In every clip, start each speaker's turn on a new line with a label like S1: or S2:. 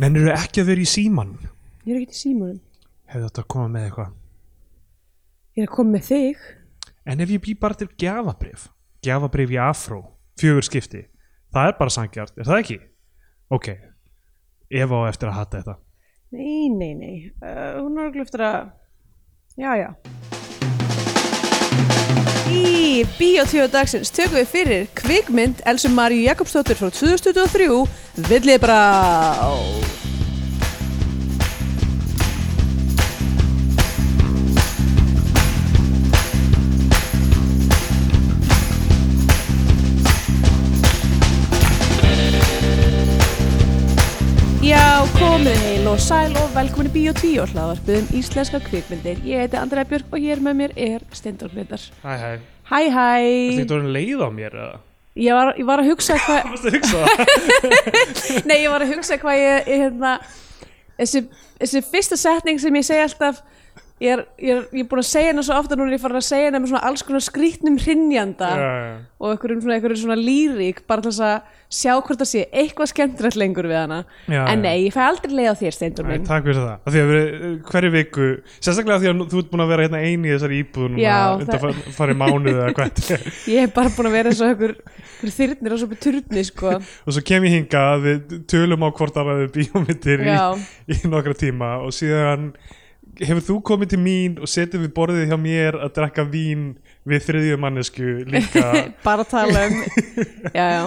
S1: Nennirðu ekki að vera í síman?
S2: Ég er ekkert í símanum.
S1: Hefði þetta að koma með eitthvað.
S2: Ég er að koma með þig.
S1: En ef ég bý bara til gjafabrif, gjafabrif í afró, fjögur skipti, það er bara sangjart, er það ekki? Ok, ef á eftir að hata þetta.
S2: Nei, nei, nei. Uh, hún er örugglega eftir að... Já, já. Í Bíotvíu dagsins tökum við fyrir kvikmynd Elsu Maríu Jakobsdóttir frá 2023 Villið brá Já, komið heil og sæl og velkomin í Bíotvíu hlaðvarpið um íslenska kvikmyndir Ég heiti Andrea Björk og hér með mér er Steindór Greitar
S1: Hæ, hæ,
S2: Hæ, hæ
S1: þetta voru leið á mér eða?
S2: Ég var, ég var að hugsa hvað
S1: Varstu að hugsa það?
S2: Nei, ég var að hugsa hvað ég, ég hérna, þessi, þessi fyrsta setning sem ég segi alltaf ég er, ég er, ég er búin að segja hennar svo ofta núna er ég farin að segja hennar með svona alls konar skrýtnum hrinnjanda
S1: Já, já, já.
S2: og einhverjum svona, einhverjum svona lírik bara til þess að sjá hvort það sé eitthvað skemmtilegt lengur við hana
S1: Já, já.
S2: en nei, ég fæ aldrei leið á þér, Steindur
S1: Æ,
S2: minn
S1: takk fyrir það, af því að við, eh, hverju viku sérstaklega af því að nú- þú ert búin að vera hérna eini í þessari íbúð núna
S2: Já,
S1: undan farið mánuð eða hvað þetta er.
S2: ég hef bara búin að vera eins og einhver, einhver þyrnir og svo byrð turni, sko
S1: og svo kem ég hingað að við tölum á hvort að við bíómyndir í,
S2: Já.
S1: í nokkra tíma og síðan hefur þú komið til mín og setið við borðið hjá mér að drekka vín við þriðju mannesku líka
S2: bara að tala um já, já,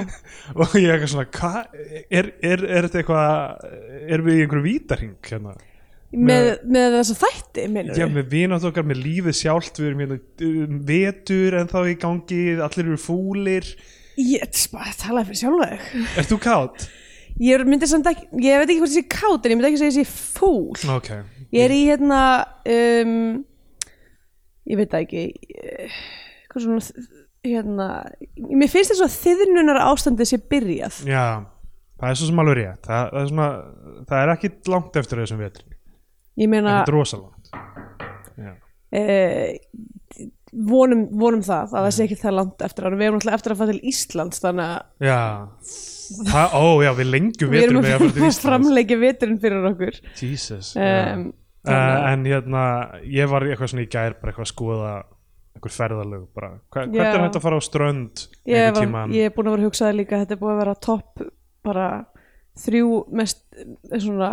S1: og ég er eitthvað svona hva, er, er, er þetta eitthvað er við í einhverju vítarhing hérna?
S2: með, með þessa þætti, minnur
S1: Já, með vinat okkar, með lífið sjálft við erum hérna um, vetur en þá í gangi, allir eru fúlir
S2: ég bara talaði fyrir sjálfa þig
S1: Ert þú kátt?
S2: Ég myndi samt ekki, ég veit ekki hvort þessi kátt en ég myndi ekki segja þessi fúl
S1: Ok,
S2: Ég er í hérna um, ég veit það ekki eh, hvað svona þ- hérna, mér finnst þess að þiðnunar ástandið sé byrjað
S1: já Það er svo sem alveg rétt, það, það, er, svona, það er ekki langt eftir þessum vetri
S2: Ég meina,
S1: Þetta er rosalangt Já.
S2: eh, vonum, vonum það að það sé ekki það langt eftir ára, við erum alltaf eftir að fara til Íslands þannig að
S1: Já Það, ó já, við lengjum
S2: við
S1: veturum
S2: erum
S1: að fara til
S2: að
S1: Íslands
S2: framleika veturinn fyrir okkur
S1: Jesus
S2: um,
S1: uh, En hérna, ég var eitthvað svona í gær bara eitthvað að skoða einhver ferðalög bara, Hva,
S2: Já.
S1: hvert er hægt að fara á strönd
S2: ég,
S1: einhver
S2: var,
S1: tíman
S2: ég er búin að vera að hugsa það líka þetta er búin að vera topp bara þrjú mest eh, svona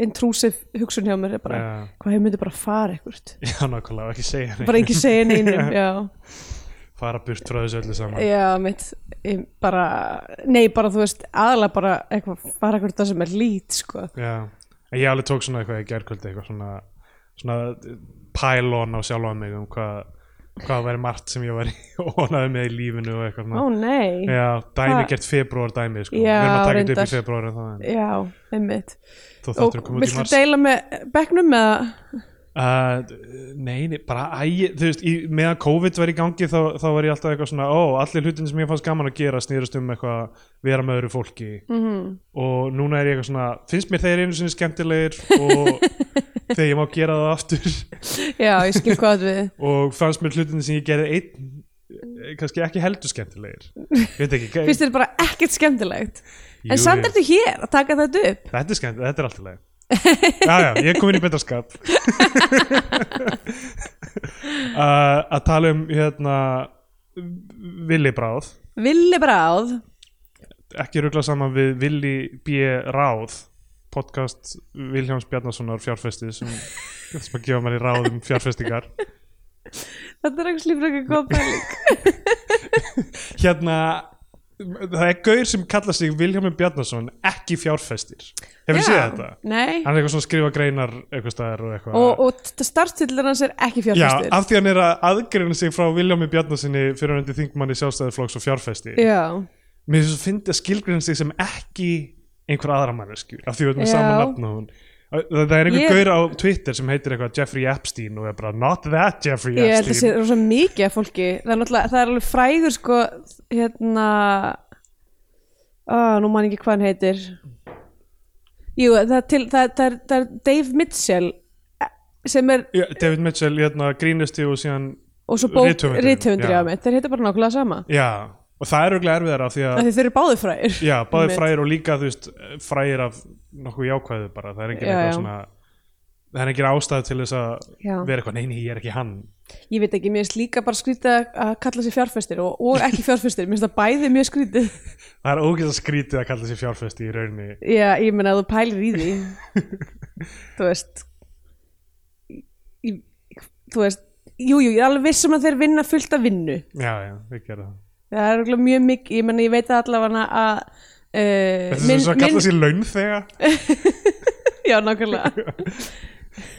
S2: intrusive hugsun hjá mér er bara,
S1: Já.
S2: hvað ég myndi bara fara ekkert
S1: Eh, Já, nákvæmlega, ekki segja neitt
S2: bara ekki segja neinum já,
S1: fara burt frá þessu öllu saman
S2: já mitt ég bara, nei bara þú veist aðalega bara eitthvað, fara ekkert það sem er lít sko,
S1: Já, en ég alveg tók svona eitthvað í gerkvöldi eitthvað svona, svona pælón á sjálfa mig um hvað hvað væri margt sem ég væri ónaði með í lífinu og eitthvað
S2: ó
S1: svona
S2: nei
S1: Já, dæmi
S2: Hvað?
S1: gert februar dæmi sko.
S2: Já,
S1: við erum að taka þetta upp í
S2: reyndar.
S1: februar en það en
S2: já, einmitt
S1: þú
S2: og
S1: þáttur að koma út í
S2: viltu
S1: mars
S2: deila með bekknum með
S1: uh, Nei, nei, bara æ, þú veist, í, meðan COVID var í gangi þá, þá var ég alltaf eitthvað svona, ó, allir hlutin sem ég fannst gaman að gera snýrast um eitthvað að vera með öðru fólki
S2: mhm
S1: og núna er ég eitthvað svona, finnst mér þeir einu sinni skemmtilegir og þegar ég má gera það aftur
S2: já, ég skil hvað við
S1: og fannst mér hlutinni sem ég gerði einn eh, kannski ekki heldur skemmtilegir ég veit ekki
S2: finnst þér bara ekkert skemmtilegt en samt ertu hér að taka þetta upp
S1: þetta er skemmtilegt, þetta er alltaf leið já já, ég er komin í betra skap uh, að tala um hérna Willi Bráð
S2: Villi Bráð
S1: ekki ruggla saman við Willi B. Ráð podcast Vilhjáms Bjarnasonar fjárfestið sem, sem að gefa manni ráð um fjárfestingar
S2: Þetta er ekki slífur ekki góð pæling
S1: hérna það er gaur sem kallar sig Vilhjálmur Bjarnason ekki fjárfestir hefur þið séð þetta?
S2: Nei
S1: hann er eitthvað svona að skrifa greinar eitthvað staðar og eitthvað
S2: Og, og startstillur hans er ekki
S1: Já,
S2: fjárfestir
S1: af því hann er að aðgreina sig frá Viljámi Bjarnasoni fyrir hundi þingmanni sjálfstæðiflokks og fjárfesti
S2: Já,
S1: Mér finnst að finna að skilgreina sig sem ekki einhver aðra mannesku af því við erum með
S2: Já.
S1: sama nafn og hún Það það er einhver
S2: Ég-
S1: gaur á Twitter sem heitir eitthvað Jeffrey Epstein og er bara not that Jeffrey
S2: ég held að sé
S1: Epstein
S2: rosa mikið af fólki Það er náttúrulega, það er alveg frægur sko Hérna ah, Nú man ég ekki hvað hann heitir Jú, það er, til, það, það er, það er Dave Mitchell eh, sem er,
S1: Já, David Mitchell, hérna, grínisti og síðan
S2: og svo bók
S1: Rithöfundur,
S2: rithöfundur
S1: já.
S2: já mitt, þeir heita bara nákvæmlega sama
S1: Já, og það er auðvitað erfiðara af því að
S2: af því þeir eru báðir fræðir
S1: já, báði
S2: Einmitt.
S1: fræðir og líka þú veist, fræðir af nokkuð jákvæðu bara, það er engin
S2: Já,
S1: eitthvað
S2: já.
S1: svona það er engin ástæð til þess að
S2: Já.
S1: vera eitthvað, nei, nei, ég er ekki hann
S2: ég veit ekki, mér finnst líka bara skrítið að- að kalla sér fjárfestir og, og ekki fjárfestir mér finnst það bæði mjög skrítið
S1: það er ógeðs að skrítið að kalla sér fjárfesti í rauninni
S2: já, ég meina að þú pælir í því þú veist ég, þú veist jú, jú, ég er alveg viss um að þeir vinna fullt af vinnu
S1: já, já, við gerum það
S2: það er örugglega mjög mikið, ég meina ég veit allavega að uh,
S1: þetta er svo að kalla sér launþega
S2: já, nákvæmlega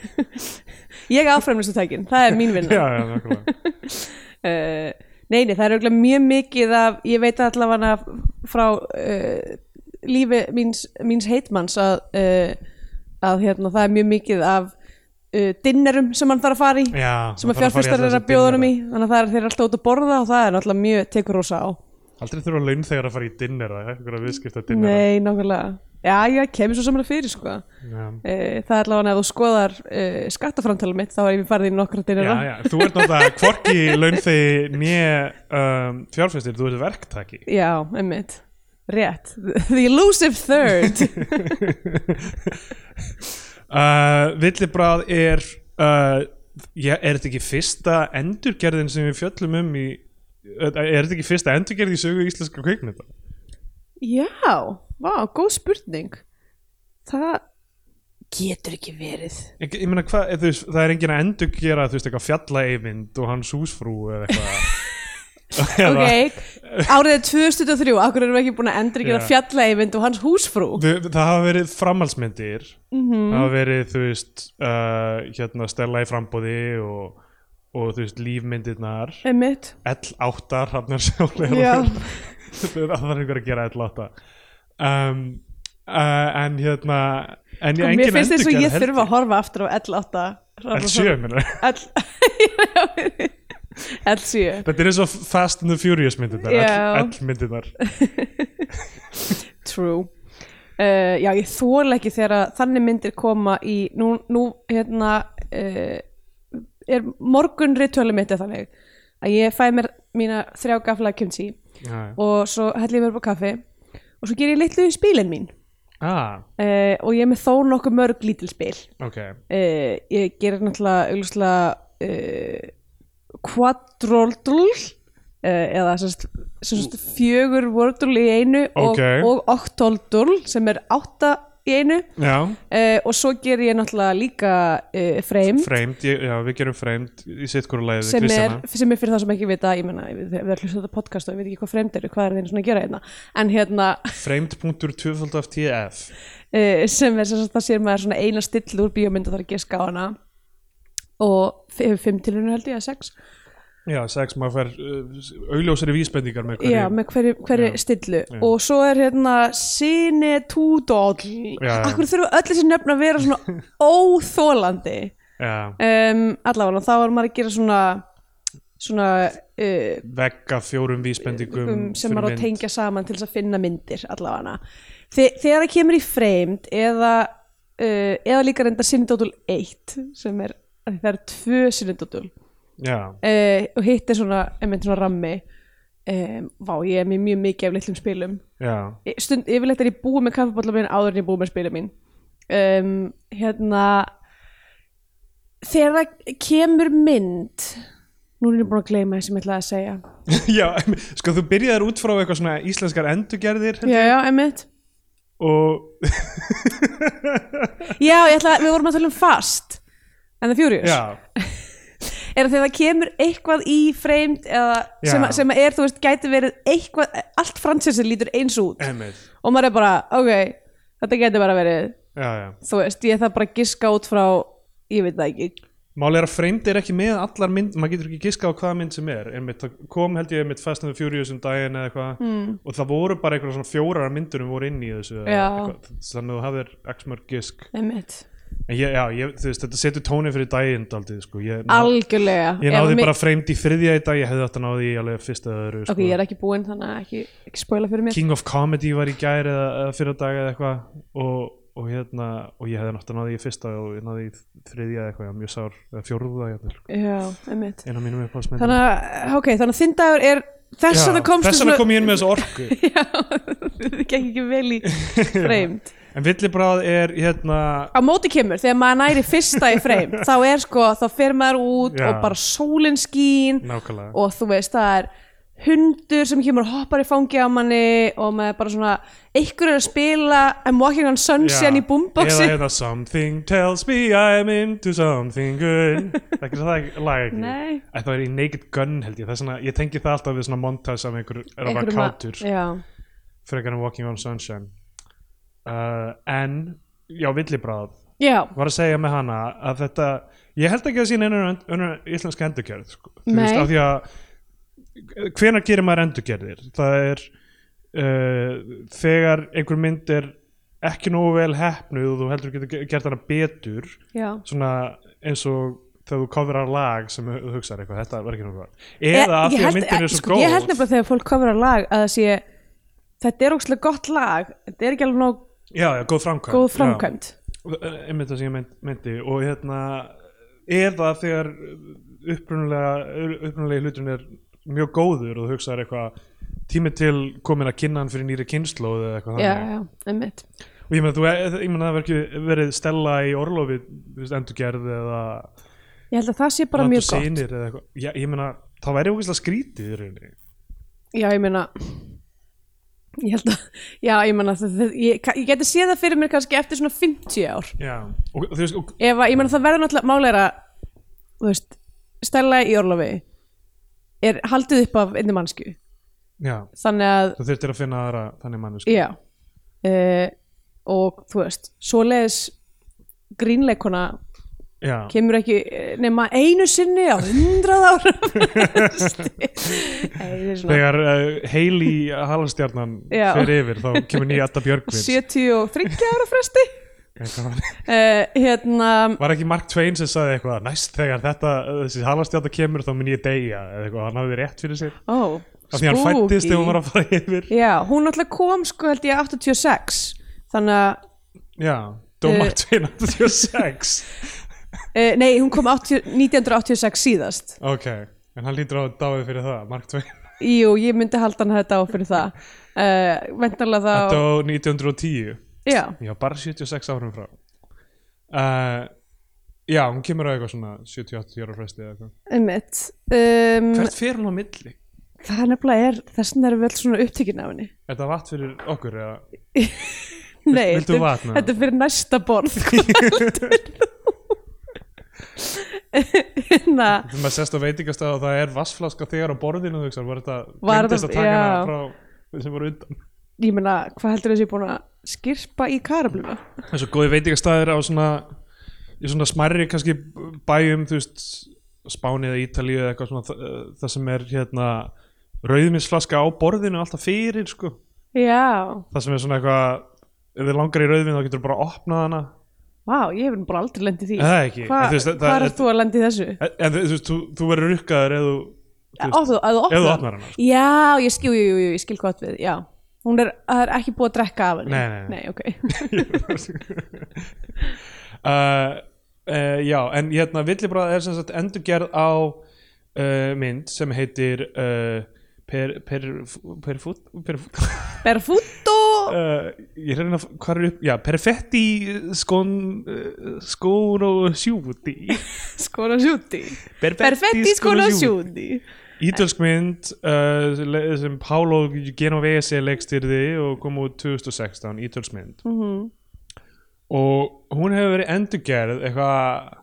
S2: ég áframlistu tækin, það er mín vinna
S1: já, já, nákvæmlega
S2: uh, nei, nei, það er auðvitað mjög mikið af, ég veit allavega frá uh, lífi míns, míns heitmanns að, uh, að hérna, það er mjög mikið af uh, dinnerum sem hann þarf að fara í
S1: já,
S2: sem að fjárfyrstar er að bjóða honum í þannig að það er þeir eru alltaf út að borða og það er náttúrulega mjög tekur rosa á
S1: aldrei þurfa launþegar að fara í dinnera eitthvað viðskipta dinnera
S2: nei, nákvæmlega já, já, kemur svo samanlega fyrir sko
S1: já.
S2: Uh, það er allavega að ef þú skoðar uh, skattaframtala mitt þá er ég farið í nokkra dyrra
S1: Já, já, þú ert náttúrulega hvorki launþegi nýja um, fjárfæstir, þú ert verktaki
S2: Já, einmitt, rétt The elusive third
S1: uh, Villibráð er uh, já, er þetta ekki fyrsta endurgerðin sem við fjöllum um í er þetta ekki fyrsta endurgerð í sögu íslenska kveikmynda?
S2: Já, vá, góð spurning Það getur ekki verið
S1: Ég, ég meina, hva, þú veist, það er enginn að endurgera þú veist, eitthvað fjallaeyvind og hans húsfrú eða eitthvað Eða-
S2: Ok, árið er 2003 Akkur erum við ekki búin að endur ekki
S1: Já.
S2: að fjalla Eyvind og hans húsfrú
S1: Við, það hafa verið framhaldsmyndir
S2: Mhm.
S1: það hafa verið þú veist uh, hérna Stella í frambóði og, og þú veist lífmyndirnar
S2: Einmitt
S1: L8 hafnar sjálega
S2: Já.
S1: það þarf einhver að gera L8 um, uh, en hérna en
S2: Sko,
S1: engin
S2: Mér finnst þess að
S1: endurgerð
S2: ég
S1: heldur.
S2: þurfa að horfa aftur á L8
S1: L7 minna
S2: L7 L7
S1: þetta er eins og Fast and the Furious myndirnar
S2: Já.
S1: L, L myndirnar
S2: True uh, Já, ég þóla ekki þegar að þannig myndir koma í Nú, nú hérna uh, er morgun rituali mitt er þannig að ég fæ mér mína þrjá gafla kimchi
S1: Já, já.
S2: og svo helli ég mér upp á kaffi og svo ger ég litlu í spilin mín
S1: ah,
S2: uh, og ég er með þó nokkuð mörg lítil spil
S1: ok
S2: uh, ég gerir náttúrulega augljóslega uh, quadroldl uh, eða sem sagt- sem sagt fjögur wordl í einu og,
S1: Ókei.
S2: og octoldl sem er átta í einu
S1: já,
S2: uh, og svo gerir ég náttúrulega líka uh, frame
S1: framed, ég, já við gerum framed í sitt hverju lagið við
S2: sem er,
S1: Kristjana
S2: sem er fyrir það sem ekki vita ég menna, við erum hlustið þetta podcast og ég veit ekki hvað fremd eru, hvað er þeim svona að gera hérna en hérna,
S1: framed.2.tf
S2: uh, sem er sem sagt það sér maður svona eina stillu úr bíómynd og það er ekki að ská hana og f- hefur fimm tilhörinu held ég að sex
S1: Já, sex, maður fær uh, augljósari vísbendingar með hverju
S2: Já, með hverju, hverju
S1: Já.
S2: stillu og svo er hérna Sine Tudol
S1: já.
S2: Akkur þurfa öll þessi nöfn að vera svona óþólandi
S1: Já,
S2: um, Allavega, þá er maður að gera svona svona uh,
S1: vegga fjórum vísbendingum
S2: um, sem
S1: fyrir
S2: maður á
S1: mynd.
S2: að tengja saman til þess að finna myndir allavega Þe, Þegar það kemur í framed eða, uh, eða líka reynda Sine Tudol 1 sem er, af því það eru tvö Sine Tudol
S1: Já,
S2: uh, og hitt er svona, einmitt svona rammi um, Vá, ég er með mjög mikið af litlum spilum
S1: já,
S2: Ég- stund, yfirleitt er ég búið með kaffibólla minn áður en ég búið með spila mín um, hérna þegar það kemur mynd nú er ég búin að gleyma því sem ég ætlaði að segja
S1: já, em, sko þú byrjaðir út frá eitthvað svona íslenskar endurgerðir
S2: já, já, emmitt
S1: og
S2: já, ég ætla, við vorum að tala um fast en það fjúrius
S1: já,
S2: er að þegar það kemur eitthvað í framed eða
S1: Já.
S2: sem, að- sem að er, þú veist, gæti verið eitthvað, allt fransessi lítur eins út
S1: einmitt,
S2: og maður er bara, ok, þetta gæti bara verið
S1: já, já.
S2: þú veist, ég þarf bara að giska út frá ég veit það ekki,
S1: Mál er að framed er ekki með allar mynd, maður getur ekki giska á hvaða mynd sem er, einmitt, það kom held ég einmitt Fast and the Furious um daginn eða eitthvað mm. og það voru bara eitthvað svona fjórar myndurum voru inn í þessu eða
S2: Já.
S1: eitthvað, þannig að þú hafðir x mörg gisk,
S2: emmitt
S1: en ég, já, ég, þú veist, þetta setur tónið fyrir daginn daldið, sko, ég,
S2: algjörlega
S1: Ég
S2: Ef
S1: náði
S2: að mi-
S1: bara framed í þriðja í dag, ég hefði átt að náði í alveg fyrsta eða öðru sko.
S2: ok, ég er ekki búinn þannig að ekki, ekki spoila fyrir mér
S1: King of Comedy var í gær eða, eða fyrir dag eða eitthvað og, og, hérna, og ég hefði nátt að náði í fyrsta og ég náði í þriðja eða eitthvað, ég var mjög sár, eða fjórða jafnvel,
S2: já, einmitt
S1: eina mínum uppáhaldsmyndum
S2: þannig að, ok, þannig að þinn dagur er þess að það komst
S1: þess vegna kom ég inn með þessu orku
S2: það gekk ekki vel í freymt
S1: En villibráð er hérna
S2: á móti kemur, þegar maður næri fyrsta í freymt þá er sko, þá fer maður út
S1: Já.
S2: og bara sólin skín
S1: Nákvæmlega
S2: og þú veist, það er hundur sem kemur og hoppar í fangi á manni og maður bara svona, einhver er að spila I'm walking on sunshine í boomboxi
S1: Eða eða something tells me I'm into something good Það er ekki það ekki- lag ekki
S2: Nei.
S1: Æ, Það er í Naked Gun held ég Það er svona, ég tengi það alltaf við svona montage af einhver er að vera
S2: Einhverjum að-
S1: kátur
S2: já,
S1: frekar en Walking on Sunshine uh, En, já, villibráð
S2: já,
S1: var að segja með hana að þetta ég held ekki að það sé neina önnur íslenska endurgerð sko. Þú
S2: Nei.
S1: af því að hvenær gerir maður endurgerðir það er uh, þegar einhver mynd er ekki nógu vel heppnuð og þú heldur getur ge- gert hana betur
S2: já
S1: svona eins og þegar þú kofirar lag sem þú hugsaðar eitthvað, þetta var ekki nógu vel
S2: Ég-
S1: eða af
S2: Eh, ég
S1: því að
S2: held-
S1: myndin er svo
S2: sko,
S1: góð
S2: ég held nefnilega þegar fólk komur á lag að það sé þetta er ógstlega gott lag þetta er ekki alveg nóg
S1: já, já, góð framkvæmd
S2: góð
S1: já.
S2: framkvæmt
S1: Eh, einmitt það sem ég mynd- myndi og hérna eða þegar upprunulega upprunulegi hluturinn er mjög góður og þú hugsaðar eitthvað tími til komin að kynna hann fyrir nýri kynnslóð eða eitthvað
S2: já,
S1: þannig
S2: já, einmitt
S1: og ég meina þú, e- ég meina það verður ekki verið stella í orlofi þú veist, endurgerð eða
S2: ég held að það sé bara
S1: Land og
S2: mjög gott
S1: synir eða eitthvað, já, ég meina það væri ógeðslega skrítið í rauninni
S2: já, ég meina ég held að, já, ég meina það, það, ég, ég geti séð það fyrir mér kannski eftir svona 50 ár
S1: já, og þú veist, og,
S2: ef að, ég meina það verður náttúrulega máleira þú veist, stella í orlofi er haldið upp af einni mannsku
S1: já
S2: þannig að
S1: þú þurftir að finna aðra þannig mann
S2: Já uh, og þú veist, svoleiðis grínleikona
S1: já,
S2: kemur ekki eh, nema einu sinni á hundrað ára svona
S1: þegar uh, Heili halastjarnan
S2: Já.
S1: fer yfir þá kemur nýja Adda Björgvins
S2: 73 ára fresti
S1: Eitthvað.
S2: uh, hérna
S1: Var ekki Mark Twain sem sagði eitthvað næst þegar þetta, þessi halastjáta kemur þá mun ég deyja eða eitthvað, hann hafði rétt fyrir sér
S2: ó,
S1: af því hann fættist
S2: spooky
S1: þegar hún var að fara yfir
S2: já, hún náttúrulega kom sko held ég 86 þannig að,
S1: Já, dó
S2: Eh.
S1: Mark Twain 86
S2: uh, nei hún kom 80, 1986 síðast
S1: Ok, en hann lítur á að dáið fyrir það Mark Twain,
S2: jú, ég myndi halda hann þetta á fyrir það uh, vendarlega
S1: hann
S2: þá
S1: dó 1910
S2: já,
S1: Já, bara 76 árum frá uh, Já, hún kemur á eitthvað svona 78 ára fresti eða eitthvað
S2: einmitt um,
S1: Hvert fer hún á milli?
S2: það nefnilega er, þess vegna erum við öll svona upptökin af henni
S1: Er það vatn fyrir okkur eða?
S2: Nei,
S1: viltu
S2: þetta-
S1: vatn, eða?
S2: þetta er fyrir næsta borð hvað heldur þú? hérna,
S1: Þegar maður sest á veitingastað og það er vassflaska þegar á borðinu þú veist, var þetta
S2: Var
S1: glemdist að
S2: það-
S1: taka hana
S2: já.
S1: frá þeim sem voru undan
S2: ég meina, hvað heldur þessi búin að skirpa í karabluna?
S1: Það er svo góði veitingastaðir á svona í svona smærri kannski bæjum þú veist, Spáni eða Ítalíu eða eitthvað svona þa- eh, það sem er hérna rauðminsflaska á borðinu alltaf fyrir sko,
S2: Já,
S1: það sem er svona eitthvað ef þið langar í rauðvin þá getur bara að opna hana
S2: vá, ég hef nú bara aldrei lendið því
S1: Það er ekki,
S2: Hva,
S1: en þú veist, það-
S2: Hvað er
S1: það-
S2: þú að lendið þessu?
S1: En- en þú, veist, þú, þú verður rukkaður eða þú, þú
S2: Ó, þú, að þú
S1: ef þú
S2: opnar
S1: opnar hana sko.
S2: Já, ég skil, jú, jú, jú, ég skil gott við, já Hún er, það er ekki búið að drekka af henni
S1: Nei, nei, nei.
S2: nei ok
S1: uh, uh, já, en hérna Villibráð er sem sagt endurgerð á uh, mynd sem heitir uh, Per, per, per, fút, per fút,
S2: Berfútó
S1: uh, ég reyna að, hvað er upp, já, perfetti skon, uh, skór og sjúti,
S2: skóla sjúti Perfetti skóla sjúti
S1: Ítölsk mynd uh, le- sem Paolo Genovese leikstýrði og kom út 2016, ítölsk mynd
S2: Mhm.
S1: og hún hefur verið endurgerð eitthvað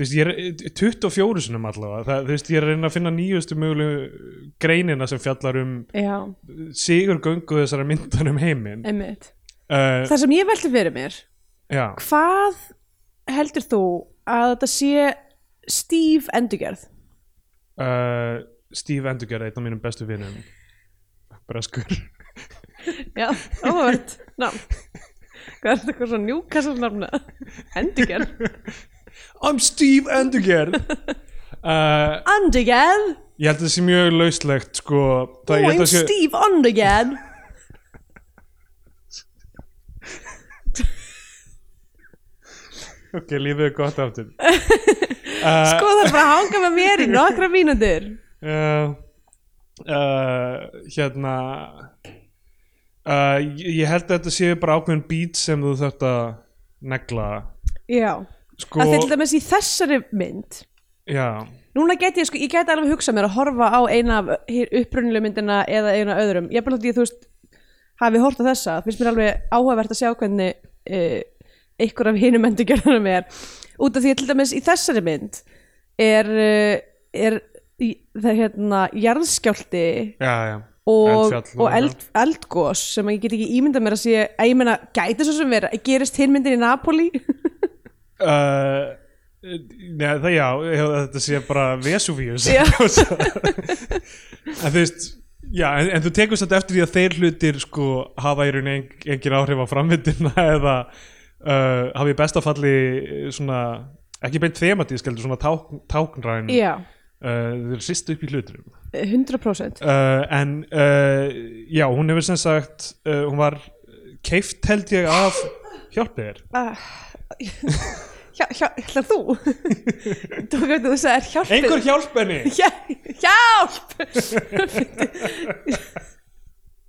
S1: þú veist, ég er 24 sinum allavega það, þú veist, ég er að reyna að finna nýjustu mögulegu greinina sem fjallar um
S2: Já,
S1: sigurgöngu þessara myndar um heiminn
S2: einmitt
S1: uh,
S2: Það sem ég velti fyrir mér
S1: já,
S2: Hvað heldur þú að þetta sé stíf endurgerð?
S1: uh, Steve endurgerð einn af mínum bestu vinum breskur
S2: Já, óvært Ná, hvað er þetta eitthvað svona njúkassalnafna? Endurgerð?
S1: I'm Steve endurgerð uh,
S2: Endurgerð?
S1: ég held að það sé mjög lauslegt sko,
S2: Ó,
S1: það, ég held
S2: I'm
S1: að sé
S2: Steve Endurgerð
S1: ok, lífið er gott aftur
S2: Sko það er bara að hanga með mér í nokkra mínútur
S1: uh, uh, hérna uh, ég ég held að þetta séu bara ákveðin beat sem þú þarft að negla
S2: já,
S1: sko,
S2: að til dæmis í þessari mynd
S1: já,
S2: Núna get ég, sko, ég get alveg hugsað mér að horfa á eina af upprunnilega myndina eða eina af öðrum. Ég bara þótt ég, þú veist, hafi hort á þessa, finnst mér alveg áhugavert að sjá hvernig uh, einhver af hinum endurgerðanum er. Út af því að til dæmis í þessari mynd er, uh, er í- það er hérna jarðskjálti
S1: já, já
S2: og,
S1: Eldfjall
S2: og eld, eldgós sem ég get ekki ímyndað mér að sé, að ég meina, gæti svo sem vera, gerist hinmyndin í Napoli?
S1: uh, Nei, það já, ég held að þetta sé bara Vesuvius
S2: Já.
S1: en þú veist já, en, en þú tekur þetta eftir því að þeir hlutir sko, hafa í raun en, engin áhrif á framvindina eða uh, hafi í besta falli eh, svona, ekki beint thematísk heldur svona ták, táknræn
S2: Já,
S1: uh, þeir sýst upp í hluturum
S2: 100%.
S1: uh, en uh, já, hún hefur sem sagt uh, hún var keift held ég af hjálpið þér
S2: Ah, hjá, hjá, hjá, þú þú veit þú sagðir hjálp
S1: einhver hjálp henni
S2: hjá, hjálp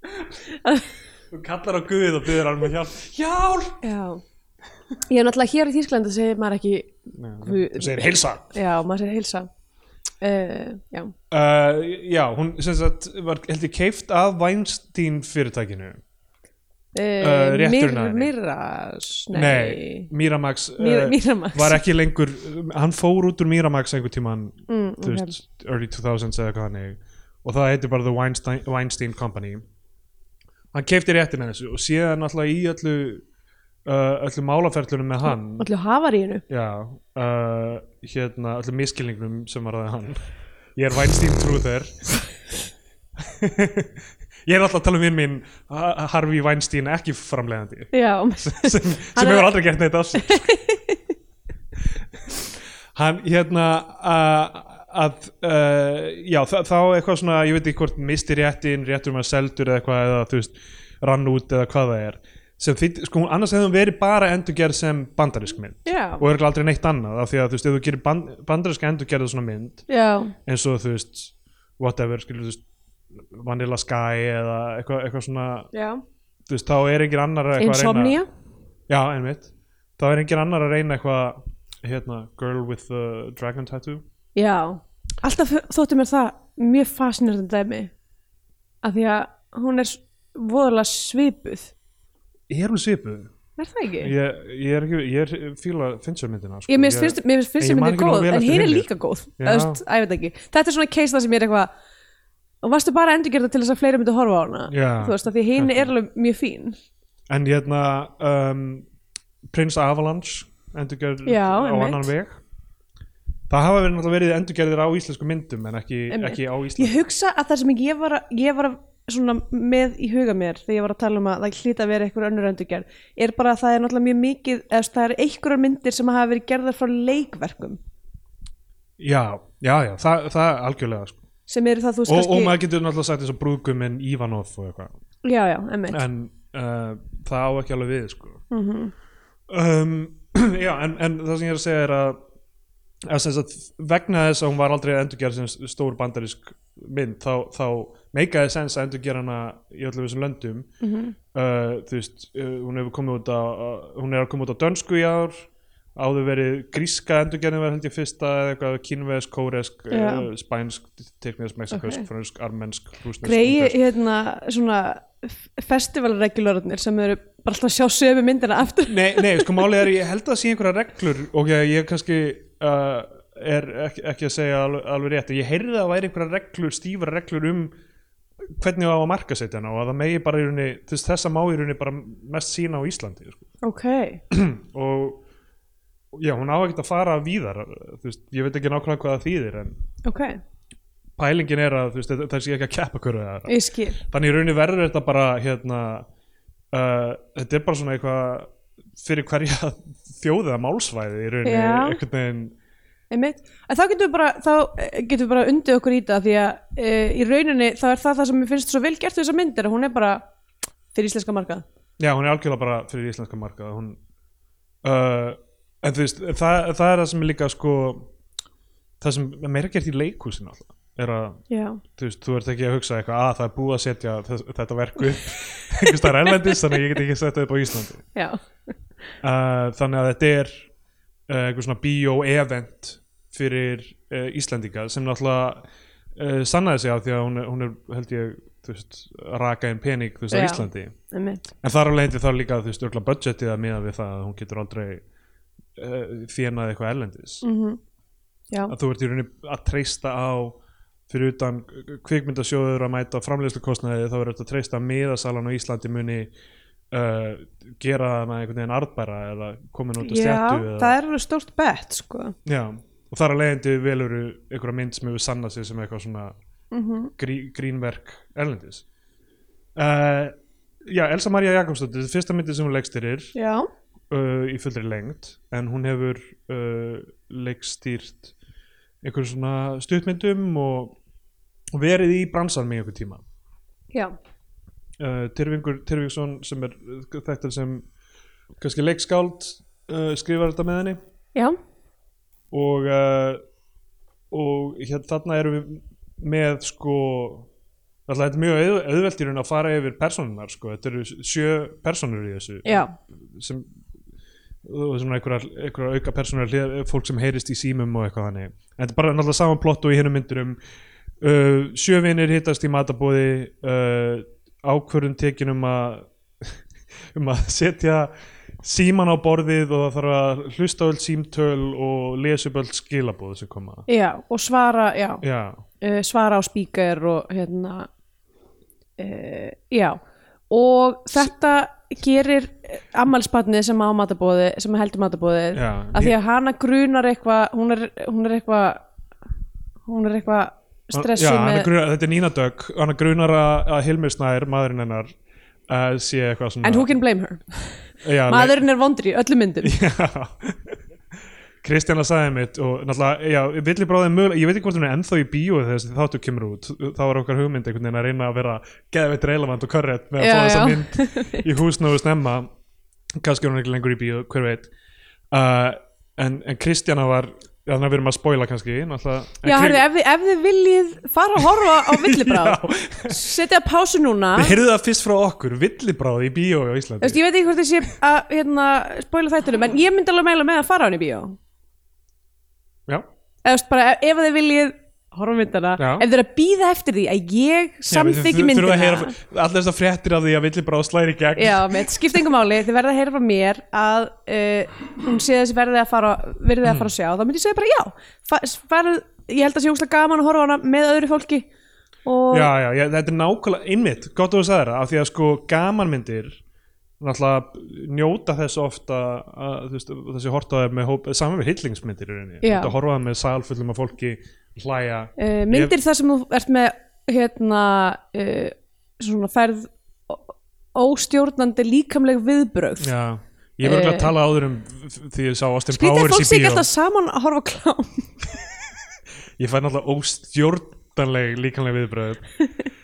S1: Þú kallar á Guð og byrður hann með hjálp Hjálp!
S2: já ég er náttúrulega hér í Þýsklandi segir maður ekki Guð.
S1: Þú segir heilsa
S2: já, maður segir heilsa uh, já,
S1: uh, Já, hún sem sagt var held ég keift af Weinstein fyrirtækinu
S2: uh,
S1: Eh, rétturinn að henni.
S2: Mirras nei,
S1: Miramax uh,
S2: Mira- Miramax.
S1: var ekki lengur hann fór út úr Miramax einhver tíman
S2: Mm,
S1: þú veist, early 2000s eða hvað hann og það heitir bara The Weinstein, Weinstein Company hann keifti réttina þessu og síðan alltaf í öllu uh, öllu málaferlunum með hann
S2: allir hafar í hennu
S1: Já, uh, hérna öllum miskilningnum sem var aðeins hann Ég er Weinstein Truther Ég er alltaf að tala um vinn minn Ha- Harvey Weinstein ekki framleiðandi
S2: já,
S1: sem, sem
S2: er-
S1: hefur aldrei gert neitt af sér sko. Hann hérna uh, að uh, já þa- þá eitthvað svona ég veit ekki hvort misti réttin, réttur maður seldur eða eitthvað eða þú veist rann út eða hvað það er sem því, sko hún- annars hefði hún verið bara endurgerð sem bandarísk mynd
S2: já,
S1: og er aldrei neitt annað af því að þú veist, ef þú gerir band, bandarinska endurgerða svona mynd
S2: já
S1: eins og þú veist, whatever skilur þú veist, Vanilla Sky eða eitthvað eitthva svona,
S2: já,
S1: þú veist, þá er engin annar eitthvað að reyna,
S2: insomnia
S1: já, einmitt þá er engin annar að reyna eitthvað hérna, girl with the dragon tattoo
S2: Já, alltaf þótti mér það mjög fascinerandi dæmi af því að hún er s- voðalega svipuð
S1: ég er hún svipuð,
S2: er það ekki?
S1: ég, ég er ekki ég er fíla finnsur myndina sko.
S2: Ég, mér finnst, mér finnst
S1: ég
S2: fyrstu
S1: man
S2: myndin
S1: ekki nógu
S2: góð
S1: vel
S2: en
S1: eftir
S2: hinn er
S1: hinni.
S2: líka góð
S1: Já.
S2: Eða, þú veist, að ég veit ekki. þetta er svona case það sem ég er eitthvað og varstu bara að endurgerða til þess að fleiri myndi horfa á hana
S1: Já.
S2: þú veist að því að hinn er alveg mjög fín
S1: en hérna um, Prince Avalanche endurgerð
S2: Já,
S1: á
S2: einmitt.
S1: annan veg það hafa verið, náttúrulega verið endurgerðir á íslensku myndum en ekki,
S2: Einmitt.
S1: ekki á íslensku
S2: ég hugsa að það sem ég var, að- ég var að svona með í huga mér þegar ég var að tala um að það hlýta að vera einhver önnur endurgerð er bara að það er náttúrulega mjög mikið eða þú veist, það er einhverjar myndir sem hafa verið gerðar frá leikverkum
S1: Já, já, já, það, það er algjörlega sko.
S2: sem eru það þú veist
S1: og, og
S2: kannski
S1: maður getur náttúrulega sagt eins og brúðguminn Ivanov og eitthvað
S2: já, já, Mhm. emmitt
S1: en uh, það á ekki alveg við sko. um, Já, en, en það sem ég er að segja er að, að sem sagt, vegna þess að hún var aldrei endurgerð sem stór bandarísk mynd þá, þá meikaði sens að endurgera hana í öllum þessum löndum
S2: Mhm.
S1: uh, þú veist, uh, hún hefur komið út á á- hún er að koma út á dönsku í ár áður verið gríska endurgerðin var held ég fyrsta eða eitthvað kínvesk, kóresk,
S2: Já.
S1: uh, spænsk teknisk, mexikosk,
S2: Ok.
S1: frönsk, armensk rúsnesk,
S2: greið
S1: ungversk.
S2: hérna svona festivalregulörðnir sem eru bara alltaf að sjá sömu myndina aftur
S1: Nei, nei, sko málið er ég held að sé einhverja reglur og ég, ég kannski uh, er ekki, ekki að segja alveg, alveg rétt ég heyrði að væri einhverja reglur, stífar reglur um hvernig á að marka setja hana og að það megi bara í rauninni, þú veist, þessa má í rauninni bara mest sína á Íslandi sko.
S2: ok,
S1: og já, hún á ekkert að fara víðar þú veist, ég veit ekki nákvæmlega hvað það þýðir en
S2: ok,
S1: pælingin er að þú veist, það sé ekki að keppa hverju það
S2: ég skil
S1: þannig í rauninni verður þetta bara hérna uh, þetta er bara svona eitthvað fyrir hverja þjóðið að málsvæði í rauninni
S2: Já.
S1: einhvern veginn
S2: einmitt, en þá getum við bara þá eh, getum við bara undið okkur í það því að e, í rauninni þá er það það sem mér finnst svo vel gert við þessar myndir að hún er bara fyrir íslenska markað
S1: já, hún er algjörlega bara fyrir íslenska markað hún, uh, en þú veist það, það er það sem er líka sko það sem er meira gert í leikhúsin alltaf er að
S2: já,
S1: þú veist, þú ert ekki að hugsa eitthvað að það er búið að setja þess, þetta verku einhvers staðar erlendis, þannig að ég get ekki sett það upp á Íslandi
S2: já,
S1: uh, þannig að þetta er uh, einhver svona bíó-event fyrir uh, Íslendinga sem náttúrulega uh, sannaði sig á því að hún, er- hún er, held ég þú veist, að raka inn pening þú veist, á
S2: Já.
S1: Íslandi
S2: einmitt
S1: en þar alveg heitir þá líka, þú veist, örgla budgetið að miða við það að hún getur aldrei uh, þjenað eitthvað erlendis
S2: mm já,
S1: að þú ert í rauninni að treysta á fyrir utan kvikmyndasjóður að mæta framleiðslukostnaði þá er þetta að treysta að miðasalan á Íslandi muni uh, gera hana einhvern veginn arðbæra eða komin út á
S2: já
S1: stjættu eða,
S2: það er alveg stórt bett sko
S1: já, og þar að leiðandi veluru einhverja mynd sem hefur sannað sig sem eitthvað svona
S2: mm
S1: grí, grínverk erlendis uh, já, Elsa María Jakobsdóttir þetta er fyrsta myndi sem hún leikstýrir
S2: já,
S1: uh, í fullri lengd en hún hefur uh, leikstýrt einhverjum svona stuttmyndum og og verið í bransanum í einhver tíma
S2: já,
S1: uh, Tyrfingur Tyrfingsson sem er uh, þekktur sem kannski leikskáld uh, skrifar þetta með henni
S2: já
S1: og uh, og hér, þarna erum við með sko alltaf þetta er mjög auð- auðvelt í raun að fara yfir personunar sko, þetta eru sjö personur í þessu
S2: já,
S1: sem og svona einhverjar einhverjar auka persónur hlið, fólk sem heyrist í símum og eitthvað þannig en þetta er bara náttúrulega saman plott og í hinnum myndur um uh, sjövinir hittast í matabóði uh, ákvörðun tekin um að um að setja síman á borðið og það þarf að hlusta öll símtöl og lesa upp öll skilabóð sem koma
S2: já og svara, já
S1: já,
S2: uh, svara á spíkar og hérna uh, já og þetta gerir ammalspatnið sem á matabóði sem heldur matabóði
S1: já,
S2: að því að hana grunar eitthvað hún er, hún er eitthvað hún er eitthvað stressu
S1: já, hana
S2: með
S1: grunar, þetta er Nína Dögg hann grunar að, að Hilmir Snær, maðurinn hennar uh, sé eitthvað svona
S2: and who can blame her
S1: já, le-
S2: maðurinn er vondri í öllum myndum
S1: Já Kristjana sagði mitt og náttúrulega, já, villi bráðið mögulega, ég veit ekki hvort hún er ennþá í bíó þegar þessi þáttu kemur út, þá var okkar hugmynd einhvern veginn að reyna að vera geðveitt relevant og korrekt með að
S2: Já,
S1: fá þessa
S2: já.
S1: mynd í húsnóðu snemma kannski er hún ekki lengur í bíó, hver veit uh, en, en Kristjana var þannig að við erum að spoila kannski náttúrulega, en
S2: já,
S1: Kri-
S2: herrðu, ef, þið- ef þið viljið fara að horfa á villibráð
S1: Já,
S2: setja pásu núna
S1: þið heyrðu það fyrst frá okkur, villi bráðið í bíó á
S2: Þú
S1: Íslandi
S2: veist, ég veit ekki hvort þessi að hérna, spóla þættunum, en ég myndi alveg meila með að fara á hann í bíó
S1: Já,
S2: eða þú veist, bara ef- ef þið viljið horfa á myndina,
S1: Já.
S2: ef þið er að býða eftir því að ég samþyggi
S1: Já, við þurfum
S2: myndina
S1: að heyra- Allar þessar fréttir af því að villi bráðið slæri gegn
S2: já, með skiptingum máli, þið verða að heyra frá mér að uh, hún sé þessi verðið að fara verðið
S1: Mm.
S2: að fara að sjá, þá myndi ég segja bara já fa- farið, ég held að sé úslega gaman að horfa á hana með öðru fólki og
S1: já, já, já, þetta er nákvæmlega innmitt, gott að þú sagðir það af því að sko gamanmyndir náttúrulega njóta þess ofta að, þú veist, þessi hortaðar með hóp, saman við hillingsmyndir í rauninni,
S2: Já.
S1: þetta horfaðar með salfullum af fólki hlæja
S2: uh, myndir þar sem þú ert með hérna uh, svona ferð ó- óstjórnandi líkamleg viðbrögð
S1: já, ég verður uh, að tala áður um því ég sá Austin
S2: Skrítið eh, að
S1: Powers
S2: fólk
S1: í
S2: sé ekki
S1: bíó
S2: alltaf saman að horfa á klám
S1: ég fæ náttúrulega óstjórnanleg líkanlega viðbröð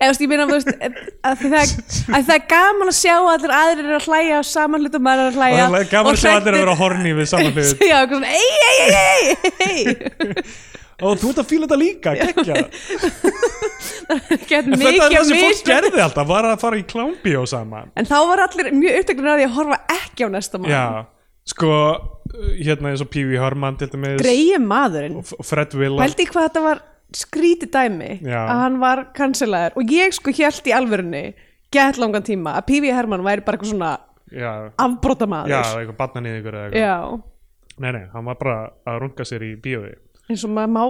S2: Eða þú veist, ég meina þú veist, að, að, það, að það er gaman að sjá að allir aðrir eru að hlæja og saman hlut og maður er að
S1: og
S2: hlæja
S1: það er gaman að sjá allir að vera horni við saman hlut
S2: Já, eitthvað svona, ei, ei, ei, ei,
S1: og þú ert að fíla þetta líka, gekkja
S2: ei Gett
S1: þetta er
S2: mikið
S1: það
S2: að
S1: sem fólk
S2: mismun
S1: gerði alltaf, var að fara í klámbíó saman
S2: En þá var allir mjög upptöknir að því að horfa ekki á næsta mann
S1: Já, sko hérna eins og Pee Wee Herman til dæmis
S2: Greið maðurinn
S1: og F- og Fred Willard
S2: Pældi í hvað þetta var skrítið dæmi
S1: Já.
S2: að hann var kansilaður og ég sko hjælt í alvörunni gett langan tíma að P.V. Herman væri bara eitthvað svona
S1: Já,
S2: afbrota
S1: já
S2: maður
S1: eitthvað batna niður ykkur eða eitthvað
S2: Já.
S1: Nei, nei, hann var bara að runga sér í bíói
S2: eins og maður má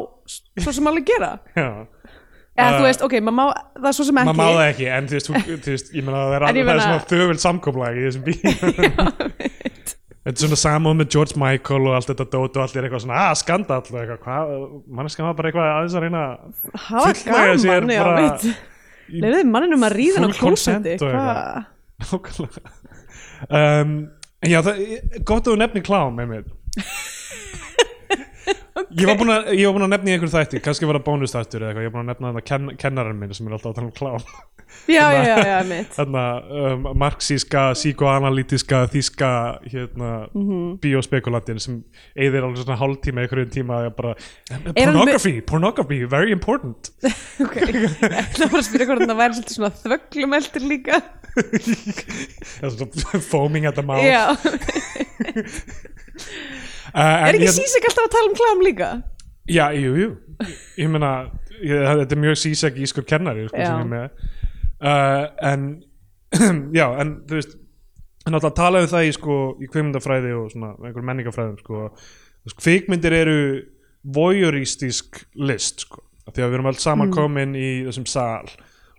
S2: svo sem alveg gera
S1: Já,
S2: eða
S1: Uh,
S2: þú veist, ok, maður má það er svo sem ekki
S1: maður má það ekki en þú veist, þú- þú veist ég meina það er,
S2: En ég
S1: alveg, það er
S2: meina-
S1: svona þögul samkomlag í þessum bíói Þetta er svona samúð með George Michael og allt þetta dót og allir eitthvað svona, að skanda alltaf eitthvað, hvað, manneskan var bara eitthvað aðeins að reyna að
S2: það var
S1: fullnægja sér
S2: gaman, já,
S1: bara-
S2: veit
S1: í-
S2: leiðið manninum að ríða hann á
S1: Full consent
S2: klósetti
S1: og eitthvað. Nákvæmlega um, en Já, það, gott að þú nefni klám einmitt.
S2: ok,
S1: Ég var búinn að, ég var búin að nefna í einhverju þætti, kannski var það bónustættur eða eitthvað, ég var búinn að nefna þarna ken, kennarinn minn sem er alltaf að tala um klám.
S2: já, já,
S1: Hérna-
S2: já, já, mitt
S1: Þarna um, marxíska, psíkoanalítiska, þíska, hérna,
S2: Mhm.
S1: biospekulantin sem eyðir alveg svona hálftíma, einhverjum tíma að bara,
S2: hann með-
S1: pornography, pornography, very important.
S2: ok, það var að spyrja hvort það væri svolítið svona þvögglumeldir líka
S1: Það er svona foaming at the mouth.
S2: já,
S1: Uh,
S2: er ekki sísik alltaf að tala um klám líka
S1: Já, jú, jú Ég meina, ég, þetta er mjög sísæk ískur kennari sko,
S2: Já.
S1: sem ég er með uh, En, já, en þú veist En alltaf talaðu það í, sko, í kvikmyndafræði og svona einhver menningafræðum sko. Þú veist, Kvikmyndir eru voyeuristisk list sko. af Því að við erum allt saman komin í þessum sal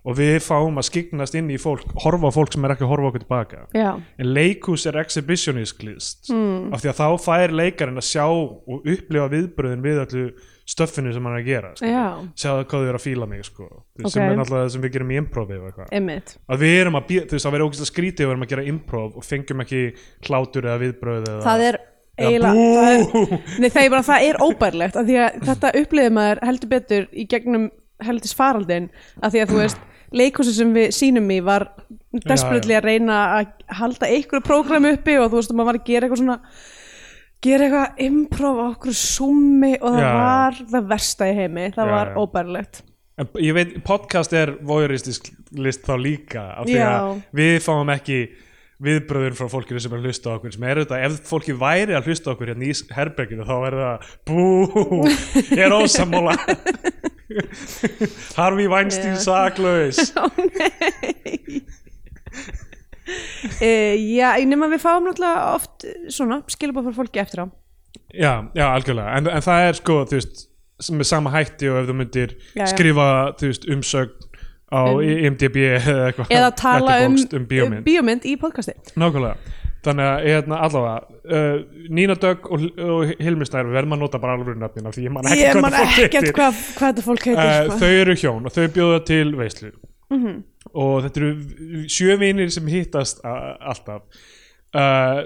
S1: og við fáum að skiknast inn í fólk, horfa á fólk sem er ekki að horfa okkur tilbaka
S2: já,
S1: en leikhús er exhibitionist list
S2: Mm.
S1: af því að þá fær leikarinn að sjá og upplifa viðbröðin við öllu stöffinu sem hann er að gera sko.
S2: Já.
S1: sjáðu hvað þau eru að fíla mig sko. okay. sem
S2: Ok.
S1: er náttúrulega það sem við gerum í improvi og eitthvað
S2: einmitt
S1: að við erum að býða, þú veist það verður ógæslega skrítið ef við erum að gera improv og fengjum ekki hlátur eða viðbröð eða,
S2: það er
S1: eða
S2: eiginlega það er-
S1: bú
S2: Nei, það er bara, það er óbærilegt af því að þetta upplifði maður heldur betur í gegnum heldis faraldin af því að þú veist, leikhúsi sem við sýnum í var desperately að reyna að halda einhverju prógram uppi og þú veist, og maður var að gera eitthvað svona gera eitthvað improv á okkur summi og það
S1: Já, já.
S2: var það versta í heimi, það
S1: Já,
S2: var
S1: já.
S2: óbærilegt
S1: En ég veit, podcast er voyeuristisk list þá líka af því að
S2: Já.
S1: við fáum ekki viðbröður frá fólkinu sem er að hlusta á okkur sem er auðvitað, ef fólki væri að hlusta á okkur hérna í herberginu þá er það bú, ég er ósammála Harvey Weinstein
S2: Já.
S1: saklaus
S2: e, Já, ég nema við fáum náttúrulega oft eh, svona, skilabóð fyrir fólki eftir á
S1: Já, já, algjörlega, en, en það er sko, þú veist, sem- með sama hætti og ef þú myndir
S2: Já, já.
S1: skrifa, þú veist, umsögn á IMDb eða eitthvað
S2: eða tala um,
S1: letterboxd, um bíómynd
S2: bíómynd í podcasti
S1: Nákvæmlega, þannig að hérna allavega uh, Nína Dögg og, og Hilmi Snær við verðum að nota bara alveg nöfnina því ég man ekki
S2: Ég
S1: hvað
S2: man
S1: það fólk
S2: ekkert
S1: heitir
S2: hvað, hvað þetta fólk heitir
S1: uh,
S2: sko. Mhm.
S1: Þau eru hjón og þau bjóða til veislu og þetta eru sjö vinir sem hittast a- alltaf uh,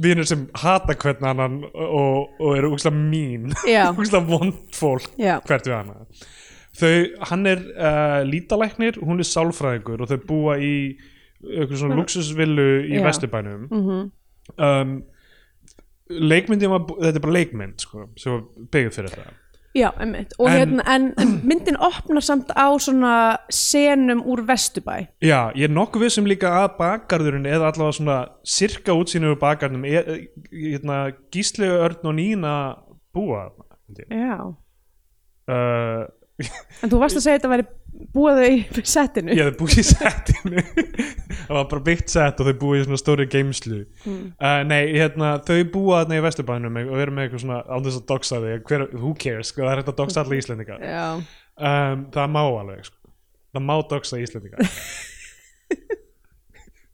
S1: vinir sem hata hvern annan og, og eru úkslega mín
S2: Já.
S1: úkslega vond fólk
S2: Já.
S1: hvert við annað þau, hann er uh, lítalæknir hún er sálfræðingur og þau búa í einhverjum svona luxusvillu í
S2: Já.
S1: vesturbænum
S2: Mhm.
S1: um, leikmyndin var, bú- þetta er bara leikmynd sko, sem var byggð fyrir það
S2: Já, einmitt og,
S1: En-
S2: hérna, en, myndin opnar samt á svona senum úr Vesturbæ
S1: Já, ég er nokkuð vissum líka að bakgarðurinn eða allavega svona sirka útsýnum úr bakgarðinum er, hérna, Gísli Örn og Nína búa þarna, held ég.
S2: Já
S1: uh,
S2: En þú varst að segja að þetta væri búið þau í settinu
S1: ég hefði búið í settinu það var bara byggt sett og þau búið í svona stóri geimslu uh, nei, hérna, þau búa þarna í vesturbænum og eru með eitthvað svona án þess að doxa þig hver, who cares, sko, það er hægt að doxa allir íslendinga
S2: Já,
S1: um, það má alveg sko. það má doxa íslendinga